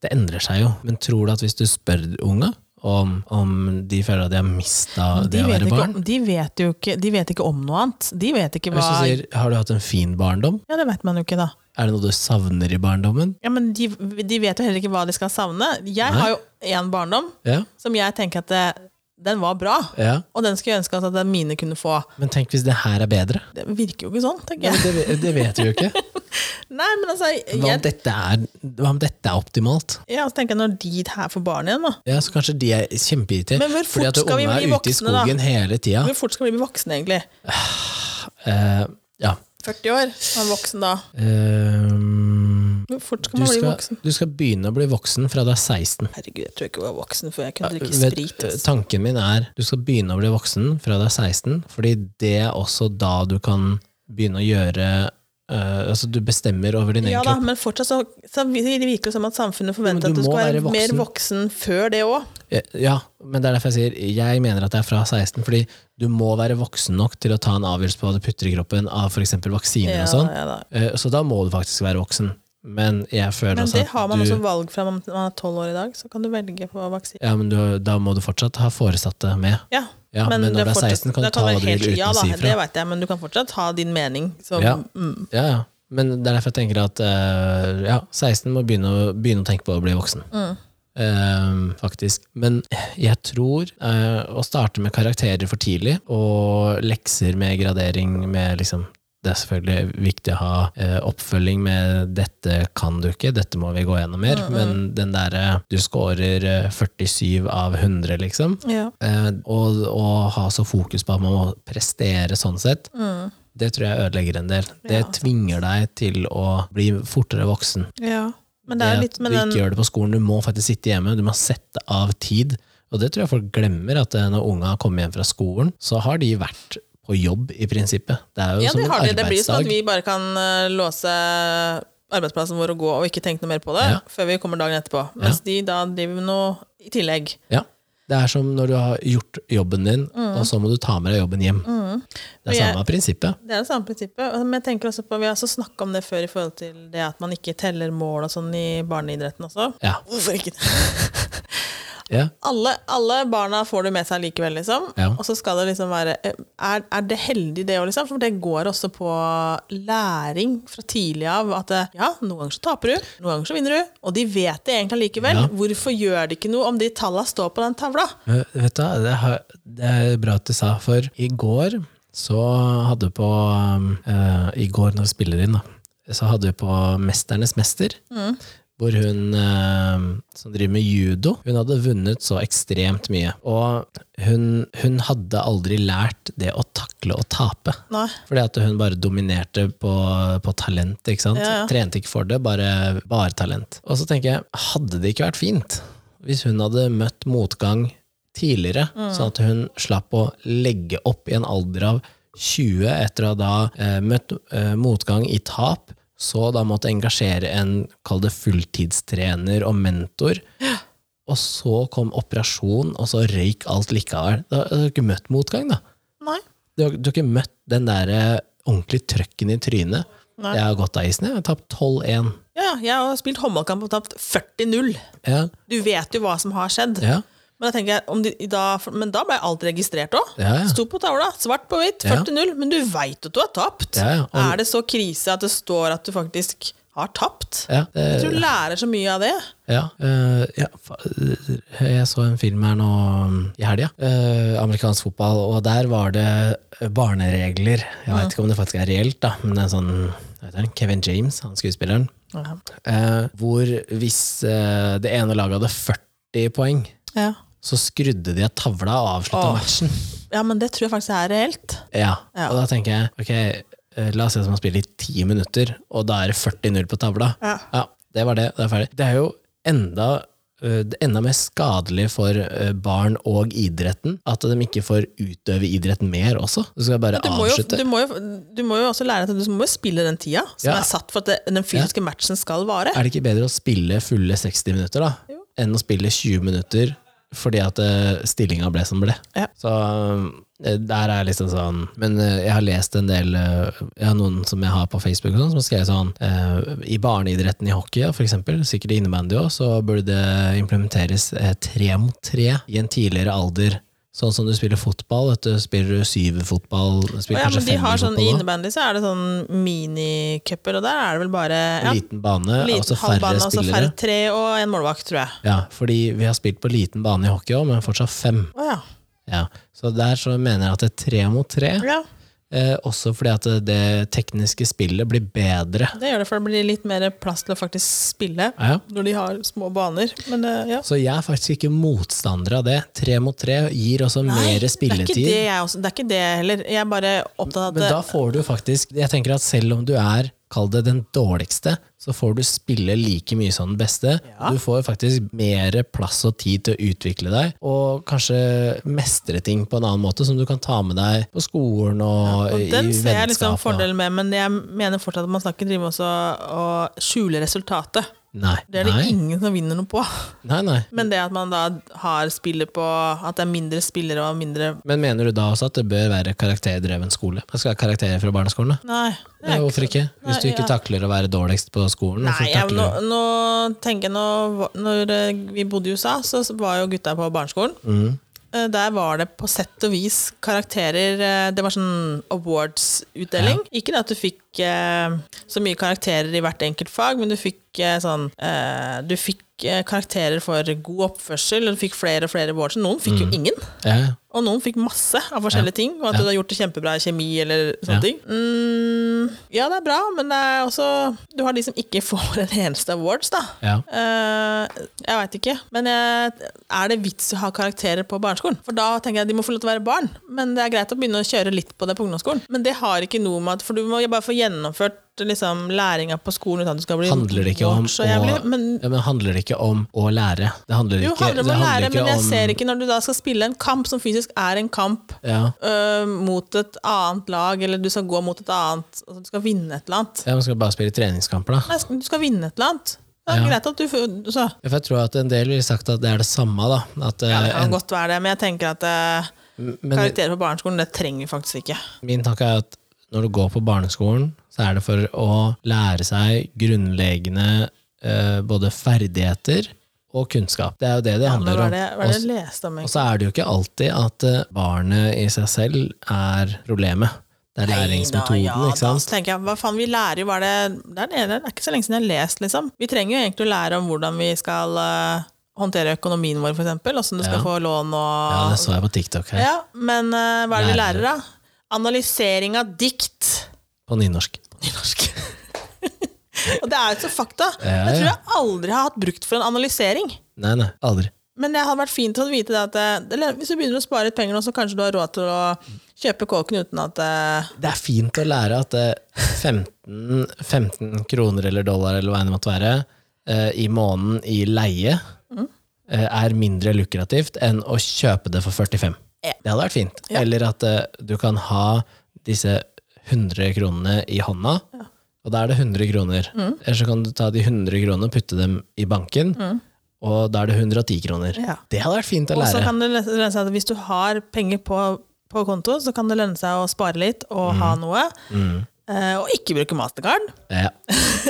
[SPEAKER 2] det endrer seg jo. Men tror du at hvis du spør unga om, om de føler at de har mista
[SPEAKER 1] de,
[SPEAKER 2] det å
[SPEAKER 1] vet
[SPEAKER 2] være
[SPEAKER 1] ikke,
[SPEAKER 2] barn
[SPEAKER 1] om- de vet jo ikke, de vet ikke om noe annet. De vet ikke hva
[SPEAKER 2] Hvis du sier 'har du hatt en fin barndom',
[SPEAKER 1] Ja, det vet man jo ikke, da.
[SPEAKER 2] er det noe du savner i barndommen?
[SPEAKER 1] Ja, men de, de vet jo heller ikke hva de skal savne. Jeg
[SPEAKER 2] Nei.
[SPEAKER 1] har jo én barndom
[SPEAKER 2] Ja,
[SPEAKER 1] som jeg tenker at det, den var bra,
[SPEAKER 2] ja.
[SPEAKER 1] og den skulle jeg ønske at mine kunne få.
[SPEAKER 2] Men tenk hvis det her er bedre?
[SPEAKER 1] Det virker jo ikke sånn, tenker
[SPEAKER 2] Ja,
[SPEAKER 1] jeg.
[SPEAKER 2] men det, ve- det vet vi jo
[SPEAKER 1] [LAUGHS]
[SPEAKER 2] ikke.
[SPEAKER 1] Nei, men altså,
[SPEAKER 2] Hva om
[SPEAKER 1] jeg,
[SPEAKER 2] dette er, hva om dette er optimalt?
[SPEAKER 1] ja, så tenker jeg når de her får barn igjen, da.
[SPEAKER 2] Ja, så Kanskje de er kjempeirritert.
[SPEAKER 1] Men hvor fort
[SPEAKER 2] fordi at
[SPEAKER 1] skal vi
[SPEAKER 2] unga
[SPEAKER 1] bli
[SPEAKER 2] er ute i
[SPEAKER 1] voksne, da?
[SPEAKER 2] skogen hele tida.
[SPEAKER 1] Hvor fort skal vi bli voksne, egentlig?
[SPEAKER 2] Eh, ja.
[SPEAKER 1] 40 år, man er voksen da.
[SPEAKER 2] Ehm,
[SPEAKER 1] Hvor fort skal
[SPEAKER 2] du,
[SPEAKER 1] man bli
[SPEAKER 2] skal,
[SPEAKER 1] voksen?
[SPEAKER 2] du skal begynne å bli voksen fra du er 16.
[SPEAKER 1] Herregud, jeg tror ikke jeg var voksen før jeg kunne drikke
[SPEAKER 2] Vet-
[SPEAKER 1] sprit. altså. ass.
[SPEAKER 2] tanken min er du skal begynne å bli voksen fra du er 16, fordi det er også da du kan begynne å gjøre eh, Altså, du bestemmer over din
[SPEAKER 1] Ja
[SPEAKER 2] egen
[SPEAKER 1] da,
[SPEAKER 2] kropp.
[SPEAKER 1] men fortsatt så, så virker det virker som at samfunnet
[SPEAKER 2] Men du
[SPEAKER 1] forventer at du skal
[SPEAKER 2] må
[SPEAKER 1] være,
[SPEAKER 2] være voksen.
[SPEAKER 1] mer voksen før det òg.
[SPEAKER 2] Eh, Ja, men det er derfor jeg sier jeg mener at det er fra 16, fordi du må være voksen nok til å ta en avgjørelse på hva du putter i kroppen av f.eks. vaksiner
[SPEAKER 1] Ja,
[SPEAKER 2] og sånn.
[SPEAKER 1] ja, da.
[SPEAKER 2] Eh, så da må du faktisk være voksen. Men jeg føler
[SPEAKER 1] men
[SPEAKER 2] også
[SPEAKER 1] det
[SPEAKER 2] at
[SPEAKER 1] har man
[SPEAKER 2] du
[SPEAKER 1] også valg fra man man er tolv år i dag, så kan du velge på vaksine.
[SPEAKER 2] Ja, men du, da må du fortsatt ha foresatte med.
[SPEAKER 1] Ja,
[SPEAKER 2] Ja, men,
[SPEAKER 1] det
[SPEAKER 2] når du er
[SPEAKER 1] fortsatt-
[SPEAKER 2] 16 kan du
[SPEAKER 1] det
[SPEAKER 2] ta hva
[SPEAKER 1] være
[SPEAKER 2] du vil
[SPEAKER 1] helt-
[SPEAKER 2] uten
[SPEAKER 1] ja,
[SPEAKER 2] å
[SPEAKER 1] da,
[SPEAKER 2] si
[SPEAKER 1] Det
[SPEAKER 2] ifra.
[SPEAKER 1] vet jeg, men du kan fortsatt ha din mening. Så,
[SPEAKER 2] Ja.
[SPEAKER 1] mm,
[SPEAKER 2] Ja, ja. Men det er derfor jeg tenker at eh, ja, 16 må begynne å, begynne å tenke på å bli voksen.
[SPEAKER 1] Mm.
[SPEAKER 2] Eh, faktisk. Men jeg tror eh, å starte med karakterer for tidlig, og lekser med gradering med liksom det er selvfølgelig viktig å ha eh, oppfølging med 'dette kan du ikke', 'dette må vi gå gjennom mer', men den derre 'du scorer eh, 47 av 100', liksom,
[SPEAKER 1] ja.
[SPEAKER 2] Eh, og, og ha så fokus på at man må prestere sånn sett, det tror jeg ødelegger en del. Det
[SPEAKER 1] Mm. Ja.
[SPEAKER 2] tvinger deg til å bli fortere voksen.
[SPEAKER 1] ja. Men det er
[SPEAKER 2] at
[SPEAKER 1] litt med
[SPEAKER 2] du
[SPEAKER 1] den
[SPEAKER 2] ikke gjør det på skolen, du må faktisk sitte hjemme, du må sette av tid. Og det tror jeg folk glemmer, at eh, når unga kommer hjem fra skolen, så har de vært på jobb, i prinsippet. Det er jo
[SPEAKER 1] Ja,
[SPEAKER 2] som
[SPEAKER 1] det
[SPEAKER 2] en
[SPEAKER 1] har det. Det blir sånn at
[SPEAKER 2] arbeidsdag.
[SPEAKER 1] vi bare kan eh, låse arbeidsplassen vår og gå, og ikke tenke noe mer på det
[SPEAKER 2] Ja.
[SPEAKER 1] før vi kommer dagen etterpå. Mens de da driver med noe i tillegg.
[SPEAKER 2] Ja. Det er som når du har gjort jobben din, og så må du ta med deg jobben hjem. Det
[SPEAKER 1] Mm. Og
[SPEAKER 2] er
[SPEAKER 1] jeg-
[SPEAKER 2] samme prinsippet.
[SPEAKER 1] Det er det samme prinsippet. og- Men jeg tenker også på, Vi har også snakka om det før i forhold til det at man ikke teller mål og sånn i barneidretten også.
[SPEAKER 2] Ja.
[SPEAKER 1] Hvorfor ikke?
[SPEAKER 2] ja.
[SPEAKER 1] Alle, alle barna får du med seg likevel, liksom.
[SPEAKER 2] Ja.
[SPEAKER 1] Og så skal det liksom være Er, er det heldig, det òg, liksom? For det går også på læring fra tidlig av. At eh, ja, noen ganger så taper du, noen ganger så vinner du. Og de vet det egentlig likevel.
[SPEAKER 2] Ja.
[SPEAKER 1] Hvorfor gjør det ikke noe om de tallene står på den tavla?
[SPEAKER 2] Men Vet du, hva, det, har- det er bra at du sa, for i går så hadde på um, eh, I går når vi spiller inn, da, så hadde vi på Mesternes mester. Hvor hun eh, som driver med judo, hun hadde vunnet så ekstremt mye. Og hun, hun hadde aldri lært det å takle å tape.
[SPEAKER 1] Nei.
[SPEAKER 2] Fordi at hun bare dominerte på, på talent, ikke sant?
[SPEAKER 1] Ja, ja.
[SPEAKER 2] Trente ikke for det, bare, bare talent. Og så tenker jeg, hadde det ikke vært fint hvis hun hadde møtt motgang tidligere,
[SPEAKER 1] Mm.
[SPEAKER 2] sånn at hun slapp å legge opp i en alder av 20 etter å ha da eh, møtt eh, motgang i tap, så da måtte engasjere en, kall det fulltidstrener og mentor, og så kom operasjon, og så røyk alt likevel. Da hadde hun ikke møtt motgang, da. Du har, du har ikke møtt den der eh, ordentlig trøkken i trynet.
[SPEAKER 1] Nei.
[SPEAKER 2] Jeg har gått av isen, jeg. Jeg har tapt 12-1.
[SPEAKER 1] Ja, ja, jeg har spilt håndballkamp og tapt 40-0.
[SPEAKER 2] Ja,
[SPEAKER 1] Du vet jo hva som har skjedd.
[SPEAKER 2] ja,
[SPEAKER 1] Men, da tenker jeg, om de, i dag- for- men da ble alt registrert òg.
[SPEAKER 2] ja. ja.
[SPEAKER 1] Sto på tavla, svart på hvitt,
[SPEAKER 2] Ja.
[SPEAKER 1] 40-0. Men du veit at du har tapt.
[SPEAKER 2] Ja, ja. Og-
[SPEAKER 1] Er det så krise at det står at du faktisk har tapt?
[SPEAKER 2] Ja, det-
[SPEAKER 1] Jeg tror du lærer så mye av det.
[SPEAKER 2] Ja, eh, ja. fa- eh, Jeg så en film her nå um, i helga. eh, amerikansk fotball, og der var det eh, barneregler. Jeg vet ikke om det faktisk er reelt, da, men det er sånn hva heter han? Kevin James, han skuespilleren.
[SPEAKER 1] Ja.
[SPEAKER 2] eh, hvor hvis eh, det ene laget hadde 40 poeng,
[SPEAKER 1] Ja.
[SPEAKER 2] så skrudde de av tavla og avslutta
[SPEAKER 1] Åh.
[SPEAKER 2] matchen.
[SPEAKER 1] men det tror jeg faktisk er reelt.
[SPEAKER 2] Ja.
[SPEAKER 1] Ja.
[SPEAKER 2] Og da tenker jeg ok, eh, la oss si at man spiller i ti minutter, og da er det 40-0 på tavla.
[SPEAKER 1] Ja.
[SPEAKER 2] Ja, det var det. Det er ferdig. Det er jo enda, øh, det er enda mer skadelig for øh, barn og idretten at de ikke får utøve idrett mer også. Du skal bare
[SPEAKER 1] Du må, jo,
[SPEAKER 2] avslutte.
[SPEAKER 1] du, må jo, du må jo også lære at du må jo spille den tida som
[SPEAKER 2] Ja.
[SPEAKER 1] er satt for at det, den fysiske matchen skal vare.
[SPEAKER 2] Er det ikke bedre å spille fulle 60 minutter da,
[SPEAKER 1] Jo.
[SPEAKER 2] enn å spille 20 minutter fordi at uh, stillinga ble som ble?
[SPEAKER 1] Ja.
[SPEAKER 2] Så øh, der er liksom sånn Men øh, jeg har lest en del øh, Jeg har noen som jeg har på Facebook, og sånn, som har skrevet sånn øh, I barneidretten i hockey, for eksempel, sikkert i innebandy òg, så burde det implementeres eh, tre mot tre i en tidligere alder. Sånn som du spiller fotball. Vet du, spiller du syverfotball,
[SPEAKER 1] Å
[SPEAKER 2] spiller
[SPEAKER 1] ja,
[SPEAKER 2] kanskje
[SPEAKER 1] men de har sånn, I
[SPEAKER 2] femmerfotball òg.
[SPEAKER 1] innebandy så er det sånn minicuper, og der er det vel bare ja,
[SPEAKER 2] Liten bane, og
[SPEAKER 1] liten
[SPEAKER 2] så færre
[SPEAKER 1] halvbane, altså
[SPEAKER 2] spillere.
[SPEAKER 1] færre tre og en målvakt, tror jeg.
[SPEAKER 2] Ja, fordi vi har spilt på liten bane i hockey òg, men fortsatt fem.
[SPEAKER 1] Å ja.
[SPEAKER 2] Ja. Så der så mener jeg at det er tre mot tre,
[SPEAKER 1] ja.
[SPEAKER 2] eh, også fordi at det tekniske spillet blir bedre.
[SPEAKER 1] Det gjør det, for det blir litt mer plass til å faktisk spille
[SPEAKER 2] Ja.
[SPEAKER 1] når de har små baner. Men eh, ja.
[SPEAKER 2] Så jeg er faktisk ikke motstander av det. Tre mot tre gir også mer
[SPEAKER 1] Det er ikke det
[SPEAKER 2] spilletid.
[SPEAKER 1] jeg også, det er ikke det heller. Jeg er bare opptatt av at
[SPEAKER 2] Men da får du faktisk Jeg tenker at selv om du er, kall det den dårligste, så får du spille like mye som den beste. Du får faktisk mer plass og tid til å utvikle deg, og kanskje mestre ting på en annen måte, som du kan ta med deg på skolen og,
[SPEAKER 1] Og den
[SPEAKER 2] i
[SPEAKER 1] ser jeg liksom
[SPEAKER 2] vennskap. og-
[SPEAKER 1] fordelen med, men jeg mener fortsatt at man skal ikke drive med også å skjule resultatet.
[SPEAKER 2] Nei.
[SPEAKER 1] Det er det
[SPEAKER 2] nei.
[SPEAKER 1] ingen som vinner noe på. [LAUGHS]
[SPEAKER 2] Nei, nei.
[SPEAKER 1] Men det at man da har spillet på At det er mindre spillere og mindre
[SPEAKER 2] Men mener du da også at det bør være karakterdreven skole? Jeg skal ha karakterer fra barneskolen, da?
[SPEAKER 1] Nei. det er
[SPEAKER 2] Ja,
[SPEAKER 1] ikke-
[SPEAKER 2] hvorfor ikke? Hvis du
[SPEAKER 1] Nei,
[SPEAKER 2] ikke
[SPEAKER 1] ja.
[SPEAKER 2] takler å være dårligst på skolen,
[SPEAKER 1] Nei,
[SPEAKER 2] hvorfor
[SPEAKER 1] jeg,
[SPEAKER 2] takler
[SPEAKER 1] nå,
[SPEAKER 2] du
[SPEAKER 1] nå tenker jeg nå, Når eh, vi bodde i USA, så var jo gutta på barneskolen. Eh, Der var det på sett og vis karakterer eh, Det var sånn awards-utdeling. Ikke det at du fikk eh, så mye karakterer i hvert enkelt fag, men du fikk eh, sånn eh, Du fikk eh, karakterer for god oppførsel, og du fikk flere og flere awards. Noen fikk jo ingen.
[SPEAKER 2] ja,
[SPEAKER 1] Og noen fikk masse av forskjellige ting, og at du har gjort det kjempebra i kjemi eller sånne
[SPEAKER 2] Ja.
[SPEAKER 1] ting. Mm, ja, det er bra, men det er også Du har de som ikke [LAUGHS] får en eneste awards, da.
[SPEAKER 2] ja.
[SPEAKER 1] Eh, jeg veit ikke, men jeg, er det vits å ha karakterer på barneskolen? For da tenker jeg de må få lov til å være barn, men det er greit å begynne å kjøre litt på det på ungdomsskolen. Men det har ikke noe med at For du må jo bare få gjennomført liksom, læringa på skolen uten at du skal bli
[SPEAKER 2] Handler det ikke om
[SPEAKER 1] voksen og jævlig,
[SPEAKER 2] å-
[SPEAKER 1] men
[SPEAKER 2] ja, men handler det ikke om å lære? Det handler
[SPEAKER 1] jo,
[SPEAKER 2] ikke,
[SPEAKER 1] handler om
[SPEAKER 2] det
[SPEAKER 1] å
[SPEAKER 2] handler
[SPEAKER 1] lære, men jeg
[SPEAKER 2] om-
[SPEAKER 1] ser ikke når du da skal spille en kamp som fysisk er en kamp
[SPEAKER 2] ja.
[SPEAKER 1] øh, mot et annet lag, eller du skal gå mot et annet altså, Du skal vinne et eller annet.
[SPEAKER 2] ja, man skal bare spille treningskamper, da.
[SPEAKER 1] Nei, du skal vinne et eller annet. Det er
[SPEAKER 2] Ja.
[SPEAKER 1] greit at du får- så,
[SPEAKER 2] Ja, For jeg tror at en del ville sagt at det er det samme, da. At,
[SPEAKER 1] Ja, det
[SPEAKER 2] eh,
[SPEAKER 1] kan godt være det, men jeg tenker at eh,
[SPEAKER 2] en, men
[SPEAKER 1] karakterer på barneskolen, det trenger vi faktisk ikke.
[SPEAKER 2] Min tanke er at når du går på barneskolen, så er det for å lære seg grunnleggende eh, både ferdigheter og kunnskap. Det er jo det det
[SPEAKER 1] Hva
[SPEAKER 2] handler
[SPEAKER 1] var
[SPEAKER 2] om.
[SPEAKER 1] det, hva er det jeg leste om?
[SPEAKER 2] Og
[SPEAKER 1] egentlig?
[SPEAKER 2] så er det jo ikke alltid at eh, barnet i seg selv er problemet. Det er læringsmetoden,
[SPEAKER 1] Nei da, ja da,
[SPEAKER 2] ikke sant?
[SPEAKER 1] så tenker jeg, hva faen, vi lærer jo hva det det er, det, det er ikke så lenge siden jeg har lest, liksom. Vi trenger jo egentlig å lære om hvordan vi skal eh, håndtere økonomien vår, for eksempel. Åssen du skal
[SPEAKER 2] Ja.
[SPEAKER 1] få lån og
[SPEAKER 2] Ja, det så jeg på TikTok her,
[SPEAKER 1] Ja, men eh, hva er det vi
[SPEAKER 2] Lærer.
[SPEAKER 1] lærer, da? Analysering av dikt.
[SPEAKER 2] på nynorsk.
[SPEAKER 1] Nynorsk. Og det er jo så fakta.
[SPEAKER 2] [LAUGHS] Ja,
[SPEAKER 1] Jeg tror
[SPEAKER 2] ja.
[SPEAKER 1] jeg aldri har hatt brukt for en analysering.
[SPEAKER 2] Nei, nei, aldri.
[SPEAKER 1] Men det hadde vært fint å vite det at eh, det, eller hvis du begynner å spare litt penger nå, så kanskje du har råd til å kjøpe kåken uten at eh,
[SPEAKER 2] Det er fint å lære at eh, 15, 15 kroner eller dollar eller hva enn det måtte være, eh, i måneden i leie
[SPEAKER 1] Mm.
[SPEAKER 2] eh, er mindre lukrativt enn å kjøpe det for 45.
[SPEAKER 1] Ja.
[SPEAKER 2] Det hadde vært fint. Eller at eh, du kan ha disse 100 kronene i hånda, og da er det 100 kroner.
[SPEAKER 1] Mm.
[SPEAKER 2] Eller så kan du ta de 100 kronene og putte dem i banken, og da er det 110 kroner.
[SPEAKER 1] Mm. Ja.
[SPEAKER 2] Det hadde vært fint å
[SPEAKER 1] Og så
[SPEAKER 2] lære.
[SPEAKER 1] kan det løse seg at hvis du har penger på på konto, så kan det lønne seg å spare litt og ha
[SPEAKER 2] Mm.
[SPEAKER 1] noe. Eh, og ikke bruke mastercard. [LAUGHS]
[SPEAKER 2] Ja.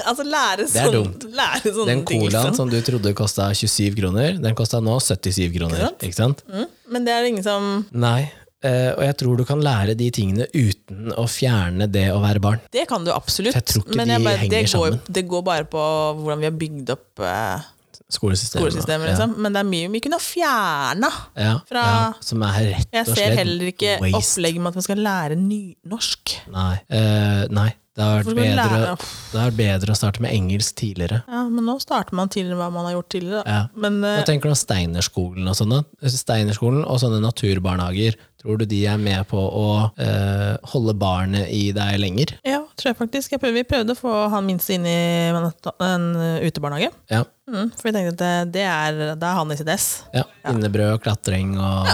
[SPEAKER 1] altså lære
[SPEAKER 2] er
[SPEAKER 1] sånn,
[SPEAKER 2] dumt.
[SPEAKER 1] lære sånne
[SPEAKER 2] Den
[SPEAKER 1] ting.
[SPEAKER 2] colaen
[SPEAKER 1] liksom.
[SPEAKER 2] som du trodde kosta 27 kroner, den kosta nå 77 kroner.
[SPEAKER 1] sant?
[SPEAKER 2] Ikke sant?
[SPEAKER 1] Mm. Men det er ingen som
[SPEAKER 2] Nei. eh, og jeg tror du kan lære de tingene uten å fjerne det å være barn.
[SPEAKER 1] Det kan du absolutt.
[SPEAKER 2] Jeg tror ikke
[SPEAKER 1] men
[SPEAKER 2] de
[SPEAKER 1] det,
[SPEAKER 2] henger
[SPEAKER 1] går,
[SPEAKER 2] sammen.
[SPEAKER 1] det går bare på hvordan vi har bygd opp eh,
[SPEAKER 2] Skolesystemet.
[SPEAKER 1] skolesystemet. Liksom. Men det er mye vi kunne ha fjerna.
[SPEAKER 2] Ja, ja,
[SPEAKER 1] Fra-
[SPEAKER 2] ja, som er rett
[SPEAKER 1] Jeg
[SPEAKER 2] og
[SPEAKER 1] ser
[SPEAKER 2] slett
[SPEAKER 1] heller ikke
[SPEAKER 2] waste.
[SPEAKER 1] opplegg med at man skal lære nynorsk.
[SPEAKER 2] Nei. eh, nei. Det har vært
[SPEAKER 1] Hvorfor skal man
[SPEAKER 2] bedre,
[SPEAKER 1] lære?
[SPEAKER 2] det har vært bedre å starte med engelsk tidligere.
[SPEAKER 1] Ja, men nå starter man tidligere hva man har gjort tidligere. Da.
[SPEAKER 2] Ja.
[SPEAKER 1] Men
[SPEAKER 2] Hva
[SPEAKER 1] eh,
[SPEAKER 2] tenker du om Steinerskolen og sånne? Steinerskolen og sånne naturbarnehager. Tror du de er med på å eh, holde barnet i deg lenger?
[SPEAKER 1] ja, tror jeg faktisk. Jeg prøvde, vi prøvde å få han minste inn i en, en eh, utebarnehage.
[SPEAKER 2] Ja.
[SPEAKER 1] Mm, for vi tenkte at det, det er, da er han i sitt ess.
[SPEAKER 2] ja. Innebrød og klatring og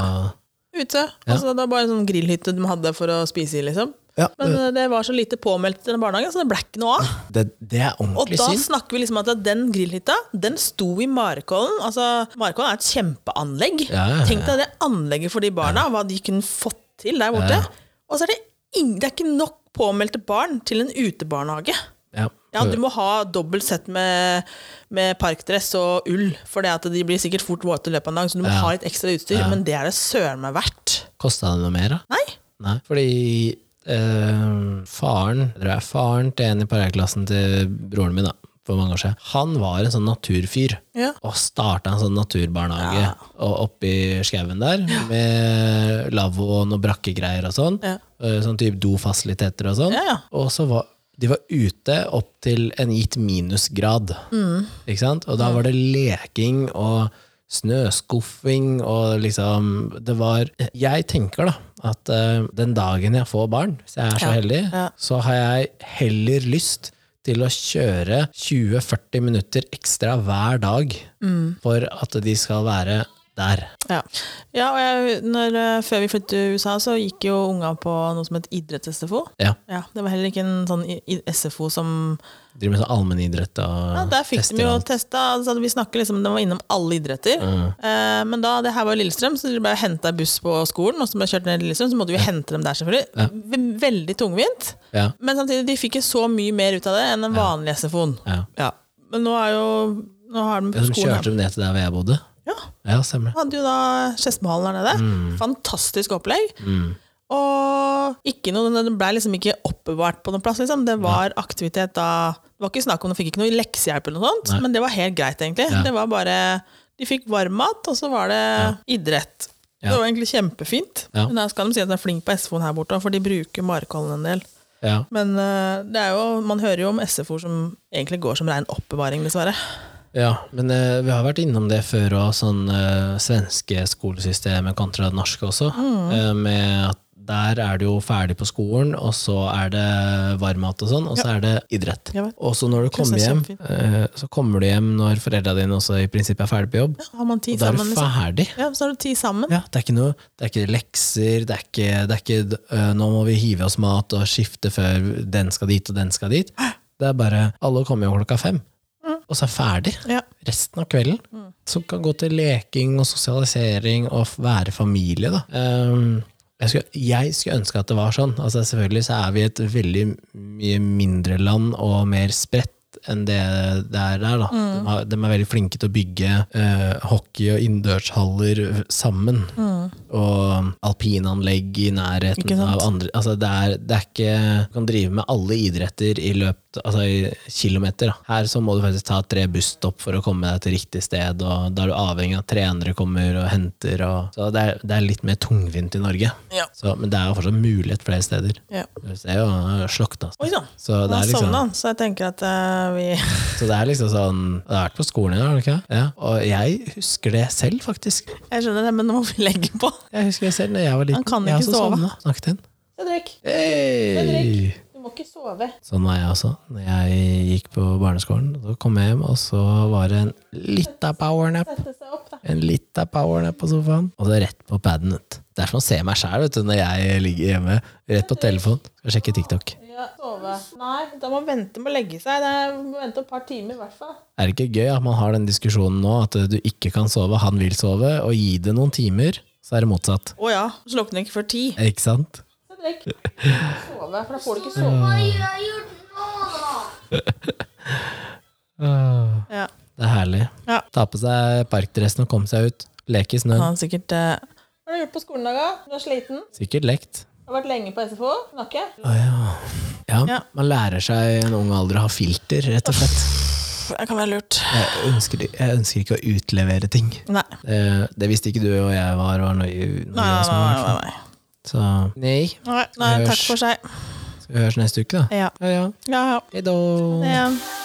[SPEAKER 1] Ute. Altså, det var bare en sånn grillhytte de hadde for å spise i, liksom.
[SPEAKER 2] Ja,
[SPEAKER 1] Men eh, det var så lite påmeldt i den barnehagen, så det ble ikke noe av.
[SPEAKER 2] det, det er
[SPEAKER 1] Og
[SPEAKER 2] ordentlig
[SPEAKER 1] da
[SPEAKER 2] synd.
[SPEAKER 1] snakker vi liksom at den grillhytta, den sto i Markollen. Altså, Markollen er et kjempeanlegg.
[SPEAKER 2] Ja, ja, ja.
[SPEAKER 1] Tenk deg det anlegget for de barna, hva de kunne fått til der borte.
[SPEAKER 2] Ja.
[SPEAKER 1] Og så er det, ing- det er ikke nok påmeldte barn til en utebarnehage.
[SPEAKER 2] Ja.
[SPEAKER 1] Ja, Du må ha dobbelt sett med, med parkdress og ull, for det at de blir sikkert fort våte i løpet av en dag, så du må ha litt ekstra utstyr, men det er det søren meg verdt.
[SPEAKER 2] Kosta det noe mer, da?
[SPEAKER 1] Nei?
[SPEAKER 2] Nei. Fordi eh, faren, tror jeg, faren til en i parallellklassen til broren min da, for mange år siden, han var en sånn naturfyr.
[SPEAKER 1] Ja.
[SPEAKER 2] Og starta en sånn naturbarnehage og oppi skauen der, med lavvo og noe brakkegreier og sånn.
[SPEAKER 1] Ja.
[SPEAKER 2] eh, Sånn type dofasiliteter og sånn.
[SPEAKER 1] Ja, ja.
[SPEAKER 2] Og så var de var ute opp til en gitt minusgrad.
[SPEAKER 1] Mm.
[SPEAKER 2] Ikke sant? Og da var det leking og snøskuffing og liksom Det var Jeg tenker da at eh, den dagen jeg får barn, hvis jeg er så heldig,
[SPEAKER 1] ja.
[SPEAKER 2] så har jeg heller lyst til å kjøre 20-40 minutter ekstra hver dag
[SPEAKER 1] Mm.
[SPEAKER 2] for at de skal være der.
[SPEAKER 1] Ja, ja og jeg, når, eh, før vi flyttet til USA, så gikk jo unga på noe som het idretts-SFO.
[SPEAKER 2] Ja.
[SPEAKER 1] Ja, det var heller ikke en sånn i- i- SFO som
[SPEAKER 2] Driver med sånn allmennidrett og
[SPEAKER 1] ja, Der fikk de
[SPEAKER 2] festival.
[SPEAKER 1] jo testa. Altså, vi snakker liksom, De var innom alle idretter. Eh, men da, det her var jo Lillestrøm, så de ble henta buss på skolen. Og så ble kjørt ned til Lillestrøm, så måtte vi hente dem der, selvfølgelig. Ve- Veldig tungvint.
[SPEAKER 2] Ja.
[SPEAKER 1] Men samtidig, de fikk ikke så mye mer ut av det enn den vanlige SFO-en.
[SPEAKER 2] Ja.
[SPEAKER 1] Men nå er jo Nå har de
[SPEAKER 2] Ja,
[SPEAKER 1] på
[SPEAKER 2] De
[SPEAKER 1] skolen.
[SPEAKER 2] kjørte dem ned til der hvor jeg bodde.
[SPEAKER 1] Ja,
[SPEAKER 2] Ja, stemmer. det.
[SPEAKER 1] hadde jo da Skedsmohallen der nede.
[SPEAKER 2] Mm.
[SPEAKER 1] Fantastisk opplegg. Og ikke noe, den ble liksom ikke oppbevart på noen plass. Liksom. Det var aktivitet da Det var ikke snakk om de fikk ikke noe leksehjelp, eller noe sånt,
[SPEAKER 2] Nei.
[SPEAKER 1] men det var helt greit, egentlig.
[SPEAKER 2] Ja.
[SPEAKER 1] Det var bare, De fikk varmmat, og så var det idrett.
[SPEAKER 2] Ja.
[SPEAKER 1] Det var egentlig kjempefint.
[SPEAKER 2] Ja.
[SPEAKER 1] Men da skal de si at de er flink på SFO-en her borte, for de bruker Markollen en del.
[SPEAKER 2] Ja.
[SPEAKER 1] Men eh, det er jo, man hører jo om SFO-er som egentlig går som rein oppbevaring, dessverre.
[SPEAKER 2] Ja, men eh, vi har vært innom det før òg, sånn eh, svenske skolesystemet kontra det norske også. eh, med at der er du jo ferdig på skolen, og så er det varmmat og sånn, og så er det idrett.
[SPEAKER 1] Jeg vet.
[SPEAKER 2] Og så når du
[SPEAKER 1] Synes
[SPEAKER 2] kommer
[SPEAKER 1] det er
[SPEAKER 2] hjem, eh, så kommer du hjem når foreldra dine også i prinsippet er ferdig på jobb,
[SPEAKER 1] Har man tid
[SPEAKER 2] og da er
[SPEAKER 1] sammen,
[SPEAKER 2] du
[SPEAKER 1] liksom.
[SPEAKER 2] ferdig.
[SPEAKER 1] Ja, så har du tid sammen.
[SPEAKER 2] Ja, det er ikke noe, det er ikke lekser, det er ikke, det er ikke øh, nå må vi hive oss mat og skifte før den skal dit og den skal dit. Det er bare, alle kommer jo klokka fem, og så er ferdig.
[SPEAKER 1] Ja.
[SPEAKER 2] Resten av kvelden, som kan gå til leking og sosialisering og f- være familie da. Ehm, jeg skulle, jeg skulle ønske at det var sånn. Altså, selvfølgelig så er vi et veldig mye mindre land og mer spredt enn det det er der. Da.
[SPEAKER 1] Mm.
[SPEAKER 2] De, har, de er veldig flinke til å bygge eh, hockey- og innendørshaller eh, sammen. Og alpinanlegg i
[SPEAKER 1] Mm. Ikke
[SPEAKER 2] nærheten
[SPEAKER 1] sant?
[SPEAKER 2] av andre altså, det, er, det er ikke Du kan drive med alle idretter i løpet altså, i kilometer. Da. Her så må du faktisk ta tre busstopp for å komme deg til riktig sted, og da er du avhengig av at trenere kommer og henter. Og, så det er, det er litt mer tungvint i Norge.
[SPEAKER 1] Ja.
[SPEAKER 2] Så, men det er jo fortsatt mulighet flere steder.
[SPEAKER 1] ja.
[SPEAKER 2] Du ser jo han har slokna.
[SPEAKER 1] Oi sann.
[SPEAKER 2] Så det,
[SPEAKER 1] Han
[SPEAKER 2] er liksom,
[SPEAKER 1] sovna, så jeg tenker at eh, vi
[SPEAKER 2] så det er liksom sånn Det har vært på skolen i dag, har det ikke? Ja. Og jeg husker det selv, faktisk.
[SPEAKER 1] Jeg skjønner det, men nå må vi legge på.
[SPEAKER 2] Jeg husker det selv når jeg var liten.
[SPEAKER 1] Han kan
[SPEAKER 2] jeg
[SPEAKER 1] ikke sove.
[SPEAKER 2] sovna. Snakket inn.
[SPEAKER 1] Cedric,
[SPEAKER 2] Hey!
[SPEAKER 1] du må ikke sove.
[SPEAKER 2] Sånn var jeg også. Når jeg gikk på barneskolen, så kom jeg hjem, og så var det en lita powernap.
[SPEAKER 1] Sette seg opp, da.
[SPEAKER 2] En lita powernap på sofaen. Og så rett på paden. vet du. Det er som å se meg sjæl når jeg ligger hjemme. Rett på telefon. Skal sjekke TikTok.
[SPEAKER 1] Ja, sove. Nei, da må man vente med å legge seg. Det er, må vente et par timer i hvert fall.
[SPEAKER 2] Er det ikke gøy at man har den diskusjonen nå, at du ikke kan sove, han vil sove, og gi det noen timer, så er det motsatt.
[SPEAKER 1] Å ja, så våkner jeg ikke før ti.
[SPEAKER 2] Ikke sant? [LAUGHS]
[SPEAKER 1] Cedric, sove, for da får du ikke sove.
[SPEAKER 3] Hva gjør jeg gjort nå,
[SPEAKER 2] [LAUGHS]
[SPEAKER 3] da?
[SPEAKER 1] Ja.
[SPEAKER 2] Det er herlig.
[SPEAKER 1] Ja.
[SPEAKER 2] Ta på seg parkdressen og komme seg ut. Leke i
[SPEAKER 1] Han
[SPEAKER 2] snøen.
[SPEAKER 1] har sikkert eh, Hva har du gjort på skolen i dag, da? Du er sliten?
[SPEAKER 2] Sikkert lekt.
[SPEAKER 1] Du har vært lenge på SFO? Snakke?
[SPEAKER 2] Å ja. ja.
[SPEAKER 1] Ja.
[SPEAKER 2] Man lærer seg i en ung alder å ha filter, rett og slett.
[SPEAKER 1] Det kan være lurt.
[SPEAKER 2] Jeg ønsker, jeg ønsker ikke å utlevere ting.
[SPEAKER 1] Nei.
[SPEAKER 2] Eh, det visste ikke du og jeg var, var når, når
[SPEAKER 1] Nei,
[SPEAKER 2] jeg
[SPEAKER 1] nei,
[SPEAKER 2] var
[SPEAKER 1] nei.
[SPEAKER 2] små.
[SPEAKER 1] nei,
[SPEAKER 2] Så nei.
[SPEAKER 1] nei. nei, nei takk for seg.
[SPEAKER 2] Skal vi høres neste uke, da?
[SPEAKER 1] Ja.
[SPEAKER 2] Ja ja.
[SPEAKER 1] ja, ja.
[SPEAKER 2] Hei da.
[SPEAKER 1] Det,